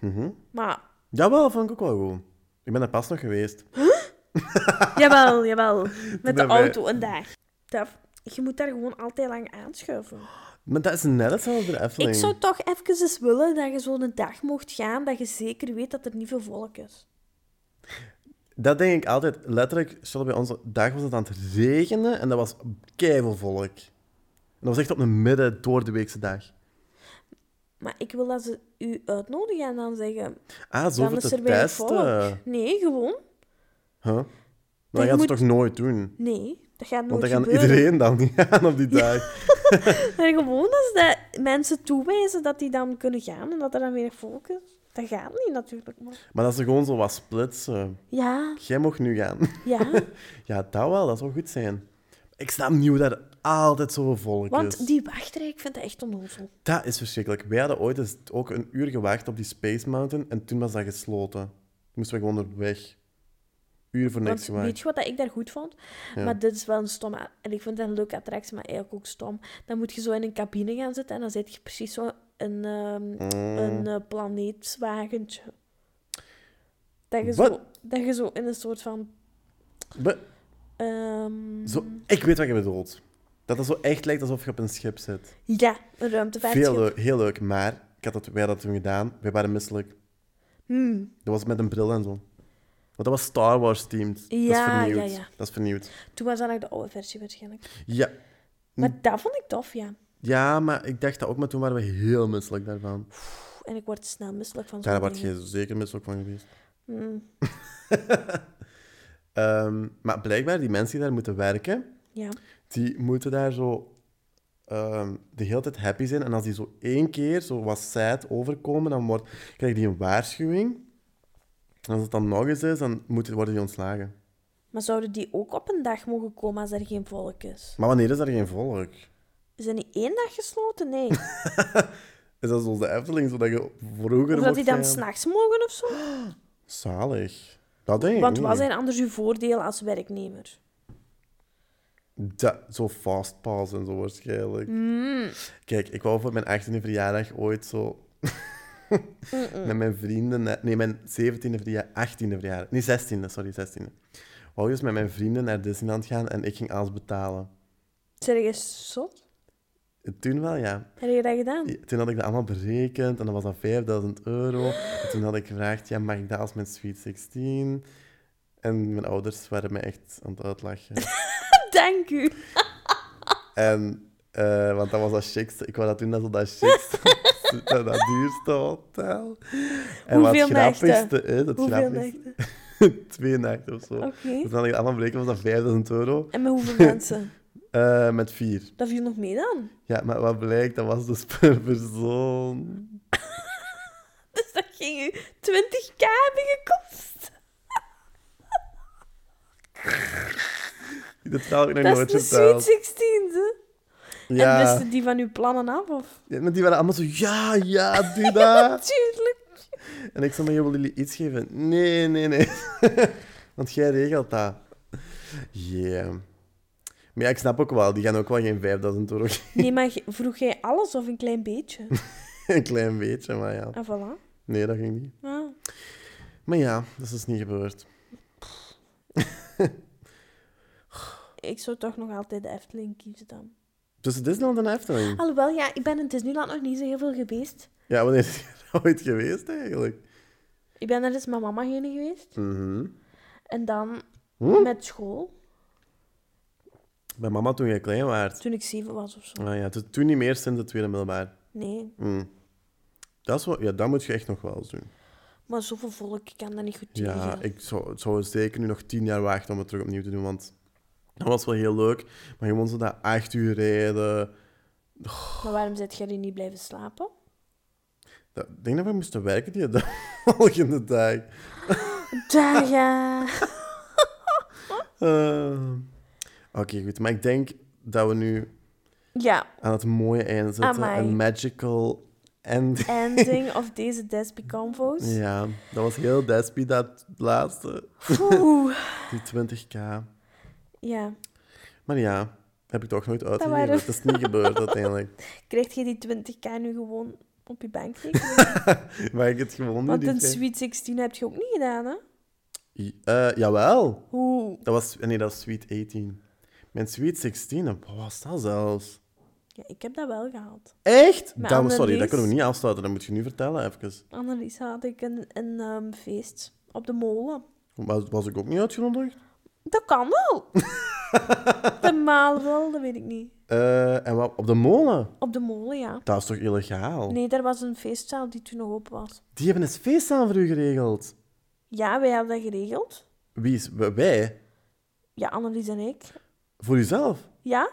A: Mhm.
B: Maar
A: Jawel, vond ik ook wel goed. Ik ben er pas nog geweest.
B: jawel, jawel. Met de
A: ben wij-
B: auto een dag. Dat, je moet daar gewoon altijd lang aanschuiven.
A: Maar dat is net hetzelfde als de Efteling.
B: Ik zou toch even eens willen dat je zo'n dag mocht gaan, dat je zeker weet dat er niet veel volk is.
A: Dat denk ik altijd. Letterlijk, stel bij onze dag was het aan het regenen en dat was keivelvolk. En dat was echt op een midden door de weekse dag.
B: Maar ik wil dat ze u uitnodigen en dan zeggen...
A: Ah, zo
B: Dan
A: voor
B: is
A: te
B: er weinig
A: testen.
B: volk. Nee, gewoon.
A: Huh? Maar
B: Dan
A: dat gaat ze
B: moet-
A: toch nooit doen?
B: Nee, dat gaat nooit
A: Want dan gaan
B: gebeuren.
A: iedereen dan niet gaan op die dag.
B: Maar gewoon als dat mensen toewijzen dat die dan kunnen gaan en dat er dan weer volk is. Dat gaat niet natuurlijk. Maar...
A: Maar dat ze gewoon zo wat splitsen.
B: Ja,
A: Jij mocht nu gaan.
B: ja.
A: Ja, dat wel. Dat zou goed zijn. Ik snap niet hoe daar altijd zoveel volk is.
B: Want die wachtrij, ik vind dat echt onnozel.
A: Dat is verschrikkelijk. Wij hadden ooit eens ook een uur gewacht op die Space Mountain en toen was dat gesloten. Toen moesten we gewoon er weg. Uren voor niks
B: Want
A: gewacht.
B: weet je wat dat ik daar goed vond? Maar dit is wel een stom... a- En ik vind dat een leuke attractie, maar eigenlijk ook stom. Dan moet je zo in een cabine gaan zitten en dan zit je precies zo een, ehm
A: Mm.
B: een eh, planeetwagentje. Dat je, zo,
A: Wat?
B: dat je zo in een soort van...
A: We-
B: ehm,
A: zo, ik weet wat je bedoelt. Dat het zo echt lijkt alsof je op een schip zit.
B: Ja, een ruimtevaartje.
A: Veel eh, leuk, heel leuk, maar ik had dat, wij hadden dat toen gedaan. Wij waren misselijk.
B: Hmm.
A: Dat was met een bril en zo. Want dat was Star Wars themed. dat is
B: Ja, ja,
A: vernieuwd.
B: ja.
A: Dat is vernieuwd.
B: Toen was dat nog de oude versie waarschijnlijk.
A: Ja.
B: Maar dat vond ik tof, ja.
A: ja, maar ik dacht dat ook, maar toen waren we heel misselijk daarvan.
B: Pff, En ik word snel misselijk van zo'n
A: Daar werd
B: dingen.
A: je zeker misselijk van geweest.
B: Hmm,
A: Ehm, maar blijkbaar, die mensen die daar moeten werken,
B: Ja.
A: die moeten daar zo ehm, de hele tijd happy zijn. En als die zo één keer zo wat sad overkomen, dan wordt, krijgt die een waarschuwing. En als het dan nog eens is, dan moet, worden die ontslagen.
B: Maar zouden die ook op een dag mogen komen als er geen volk is?
A: Maar wanneer is er geen volk?
B: Is dat niet één dag gesloten? Nee.
A: Is dat zoals de Efteling, zodat je vroeger
B: Of dat
A: mocht
B: die dan
A: gaan?
B: s'nachts mogen of zo?
A: Zalig. Dat denk ik
B: Want
A: niet.
B: wat zijn anders uw voordelen als werknemer?
A: Dat, zo fastpass en zo waarschijnlijk. Kijk, ik wou voor mijn 18e verjaardag ooit zo. met mijn vrienden. naar- Nee, mijn 17e verjaardag. 18e verjaardag. Nee, 16e, sorry, 16e. Wou eens met mijn vrienden naar Disneyland gaan en ik ging alles betalen.
B: Zeg je zot?
A: Toen wel, ja.
B: Heb je dat gedaan?
A: Ja, Toen had ik dat allemaal berekend en dat was dat 5000 euro. En toen had ik gevraagd, ja, mag ik dat als mijn Sweet 16? En mijn ouders waren me echt aan het uitlachen.
B: Dank u.
A: En, eh, want dat was dat chicste. Ik wou dat toen dat zo dat chicste, dat, dat duurste hotel. En
B: Hoeveel
A: wat het grappigste is, het
B: Hoeveel
A: grappigste,
B: nachten?
A: twee nachten of zo.
B: Oké.
A: Dus dan had ik het allemaal berekend, was dat 5000 euro
B: En met hoeveel mensen?
A: eh, met vier.
B: Dat viel nog mee dan?
A: Ja, maar wat blijkt, dat was dus per persoon.
B: Dus dat ging u 20k hebben gekost.
A: Dat had ik nog
B: Dat
A: nooit
B: is de Sweet
A: verteld.
B: 16, hè? En dus-
A: Ja.
B: wisten die van uw plannen af? Of?
A: ja, maar die waren allemaal zo, ja, ja, doe dat.
B: Tuurlijk.
A: En ik zei, maar willen jullie iets geven? Nee, nee, nee. Want jij regelt dat. Yeah. Maar ja, ik snap ook wel, die gaan ook wel geen 5000 euro geven.
B: Nee, maar ge- vroeg jij alles of een klein beetje?
A: Een klein beetje, maar ja.
B: En voilà.
A: Nee, dat ging niet.
B: Ja.
A: Maar ja, dat is dus niet gebeurd.
B: Ik zou toch nog altijd de Efteling kiezen dan.
A: Tussen Disneyland en Efteling.
B: Alhoewel, ja, ik ben in Disneyland nog niet zo heel veel geweest.
A: Ja, wanneer is je ooit geweest eigenlijk?
B: Ik ben er eens met mama heen geweest.
A: Mhm.
B: En dan
A: Hm?
B: met school,
A: Bij mama toen jij klein was.
B: toen ik zeven was of zo.
A: Ah ja, to- toen niet meer sinds het tweede middelbaar.
B: Nee,
A: Hm. Dat, is wel, ja, dat moet je echt nog wel eens doen.
B: maar zoveel volk, ik kan dat niet goed tegen.
A: Ja, ik zou, ik zou zeker nu nog tien jaar wachten om het terug opnieuw te doen, want dat was wel heel leuk. Maar gewoon zo dat acht uur rijden.
B: Maar waarom zit jij hier niet blijven slapen?
A: Dat, ik denk dat we moesten werken die dag, volgende dag.
B: Daga!
A: Eh, Oké, goed. Maar ik denk dat we nu
B: Ja,
A: aan het mooie einde zitten.
B: Amai.
A: Een magical En
B: Ending of deze Despi Convo's.
A: ja, dat was heel Despy, dat laatste.
B: Oeh.
A: Die 20k.
B: Ja.
A: Maar ja, heb ik toch nooit
B: waren-
A: uitgegeven. Het is niet gebeurd uiteindelijk.
B: Krijg je die 20k nu gewoon op je bankrekening?
A: Maar ik het gewoon nu
B: Want een
A: niet. hè.
B: Sweet 16 heb je ook niet gedaan, hè?
A: I- eh, jawel.
B: Oeh.
A: Dat was, nee, dat was Sweet 18. Mijn Sweet 16, en wat was dat zelfs?
B: Ja, ik heb dat wel gehaald.
A: Echt?
B: Maar
A: Dan, sorry, dat
B: Annelies-
A: kunnen we niet afsluiten. Dat moet je nu vertellen, even.
B: Annelies had ik een, een ehm, feest op de molen.
A: Was, was ik ook niet uitgenodigd?
B: Dat kan wel. de maal wel, dat weet ik niet.
A: Eh, en wat, op de molen?
B: Op de molen, ja.
A: Dat is toch illegaal?
B: Nee, daar was een feestzaal die toen nog open was.
A: Die hebben eens feest aan voor u geregeld.
B: Ja, wij hebben dat geregeld.
A: Wie is... w- Wij?
B: Ja, Annelies en ik.
A: Voor uzelf?
B: Ja?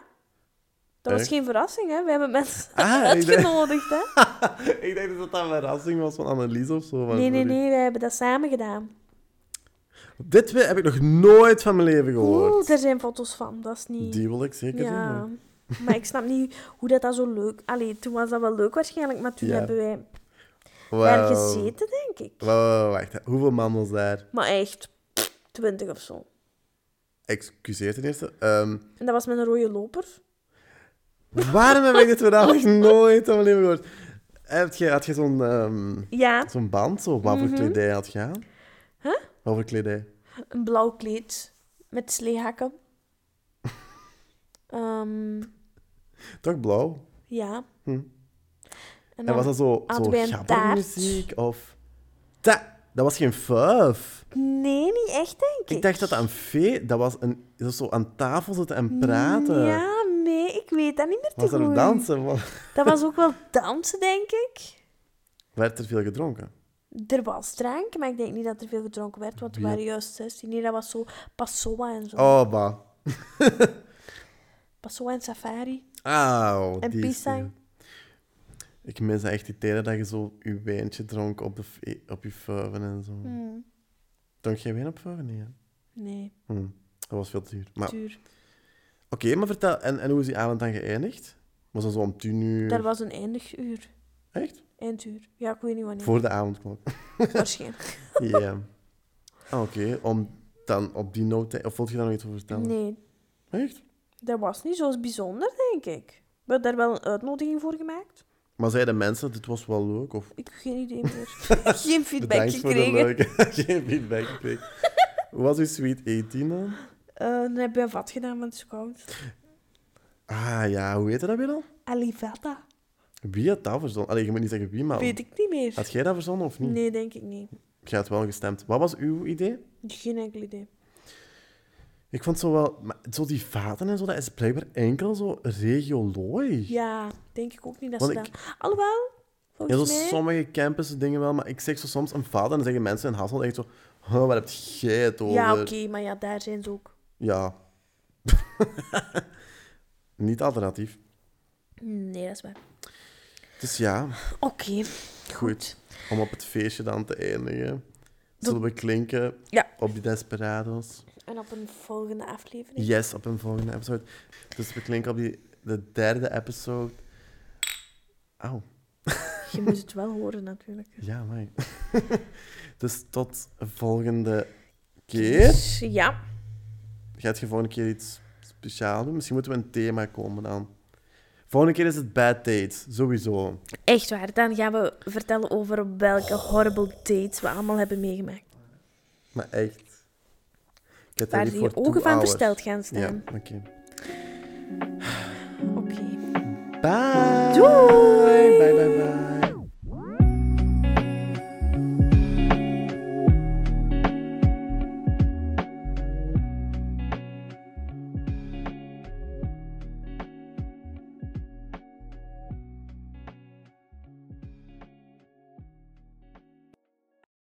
B: Dat was
A: Echt?
B: geen verrassing, hè? We hebben mensen
A: Ah, ik dacht,
B: uitgenodigd, hè?
A: ik dacht dat dat een verrassing was van Annelies of zo. maar
B: Nee, nee,
A: sorry.
B: nee, wij hebben dat samen gedaan.
A: Dit we- heb ik nog nooit van mijn leven gehoord.
B: Oeh, daar zijn foto's van, dat is niet...
A: Die wil ik zeker zien.
B: ja.
A: hoor.
B: Maar ik snap niet hoe dat, dat zo leuk... Allee, toen was dat wel leuk waarschijnlijk, maar toen
A: Ja.
B: hebben wij
A: Wauw.
B: daar gezeten, denk ik.
A: Wa- wa- wa- Wacht, hè. hoeveel man was daar?
B: Maar echt, twintig of zo.
A: Excuseer ten eerste. Ehm,
B: En dat was met een rode loper.
A: waarom heb ik dit verhaal nog nooit van mijn leven gehoord? Heb je, had je zo'n ehm,
B: Ja,
A: zo'n band? Zo? Wat voor
B: Mhm.
A: kledij had je aan? Wat voor kledij?
B: een blauw kleed met sleehakken. Ehm,
A: Toch blauw?
B: ja.
A: Hm.
B: En
A: En
B: dan...
A: was dat zo,
B: hadden
A: zo
B: wij een
A: gabbermuziek
B: taart.
A: muziek? Of... Ta dat was geen fuif.
B: Nee, niet echt, denk ik.
A: Ik dacht dat dat een fee... Dat was, een, dat was zo aan tafel zitten en praten.
B: Ja, nee, ik weet dat niet meer te
A: was er
B: goed.
A: dansen? man?
B: Dat was ook wel dansen, denk ik.
A: Werd er veel gedronken?
B: Er was drank, maar ik denk niet dat er veel gedronken werd, want we
A: Wie-
B: waren juist 16. Nee, dat was zo Passoa en zo.
A: Oh, bah.
B: Passoa en Safari.
A: Auw.
B: En
A: die is-
B: pisang.
A: Ik mis echt die tijden dat je zo je wijntje dronk op, de, fe- op je vuiven en zo.
B: Hmm,
A: Dronk jij wijn op vuiven? Nee, hè?
B: Nee,
A: Hm, Dat was veel te duur. Maar oké,
B: duur.
A: maar vertel, en, en hoe is die avond dan geëindigd? Was dat zo om tien uur?
B: Daar was een eindig
A: Echt?
B: Einduur. Ja, ik weet niet wanneer.
A: Voor de avondklok.
B: Waarschijnlijk.
A: Ja. Ah, oké, om dan op die noot... Of wilt je daar nog iets over vertellen?
B: Nee,
A: Echt?
B: dat was niet zo bijzonder, denk ik. We hebben daar wel een uitnodiging voor gemaakt.
A: Maar zeiden mensen, dit was wel leuk? Of
B: Ik heb geen idee meer. geen feedback
A: bedankt voor de
B: gekregen.
A: leuke... Geen feedback gekregen. Hoe was uw sweet 18 dan?
B: Eh, dan heb je een vat gedaan, want het is koud.
A: Ah ja, hoe heet dat weer al?
B: Alivata.
A: Wie had dat verzonnen? Allee, je moet niet zeggen wie, maar...
B: Weet ik niet meer.
A: Oh. Had jij dat verzonnen of niet?
B: Nee, denk ik niet.
A: Jij had wel gestemd. Wat was uw idee?
B: Geen enkel idee.
A: Ik vond zo wel... Maar zo die vaten en zo, dat is blijkbaar enkel zo regiolooi.
B: Ja, denk ik ook niet dat
A: Want
B: ze
A: ik-
B: dat... Alhoewel,
A: Ja, zo
B: volgens mij...
A: sommige campussen dingen wel, maar ik zeg zo soms een vaat en dan zeggen mensen in Hasselt echt zo... Oh, waar heb jij het over?
B: Ja, oké, maar ja, daar zijn ze ook.
A: Ja. Niet alternatief.
B: Nee, dat is waar.
A: Dus ja,
B: Oké,
A: goed. Om op het feestje dan te eindigen. Zullen we klinken
B: Ja.
A: op die desperados?
B: en op een volgende aflevering.
A: Yes, op een volgende episode. Dus we klinken op die, de derde episode. Auw,
B: Je moet het wel horen, natuurlijk.
A: ja, mij. dus tot volgende keer.
B: Dus, Ja,
A: Gaat je volgende keer iets speciaals doen? Misschien moeten we een thema komen dan. Volgende keer is het bad dates, sowieso.
B: echt waar. Dan gaan we vertellen over welke horrible dates we allemaal hebben meegemaakt.
A: Maar echt. Ik heb
B: Waar
A: niet
B: je
A: voor
B: ogen
A: two
B: van
A: hours.
B: versteld gaan
A: Ja,
B: staan.
A: oké.
B: Oké.
A: Bye!
B: Doei!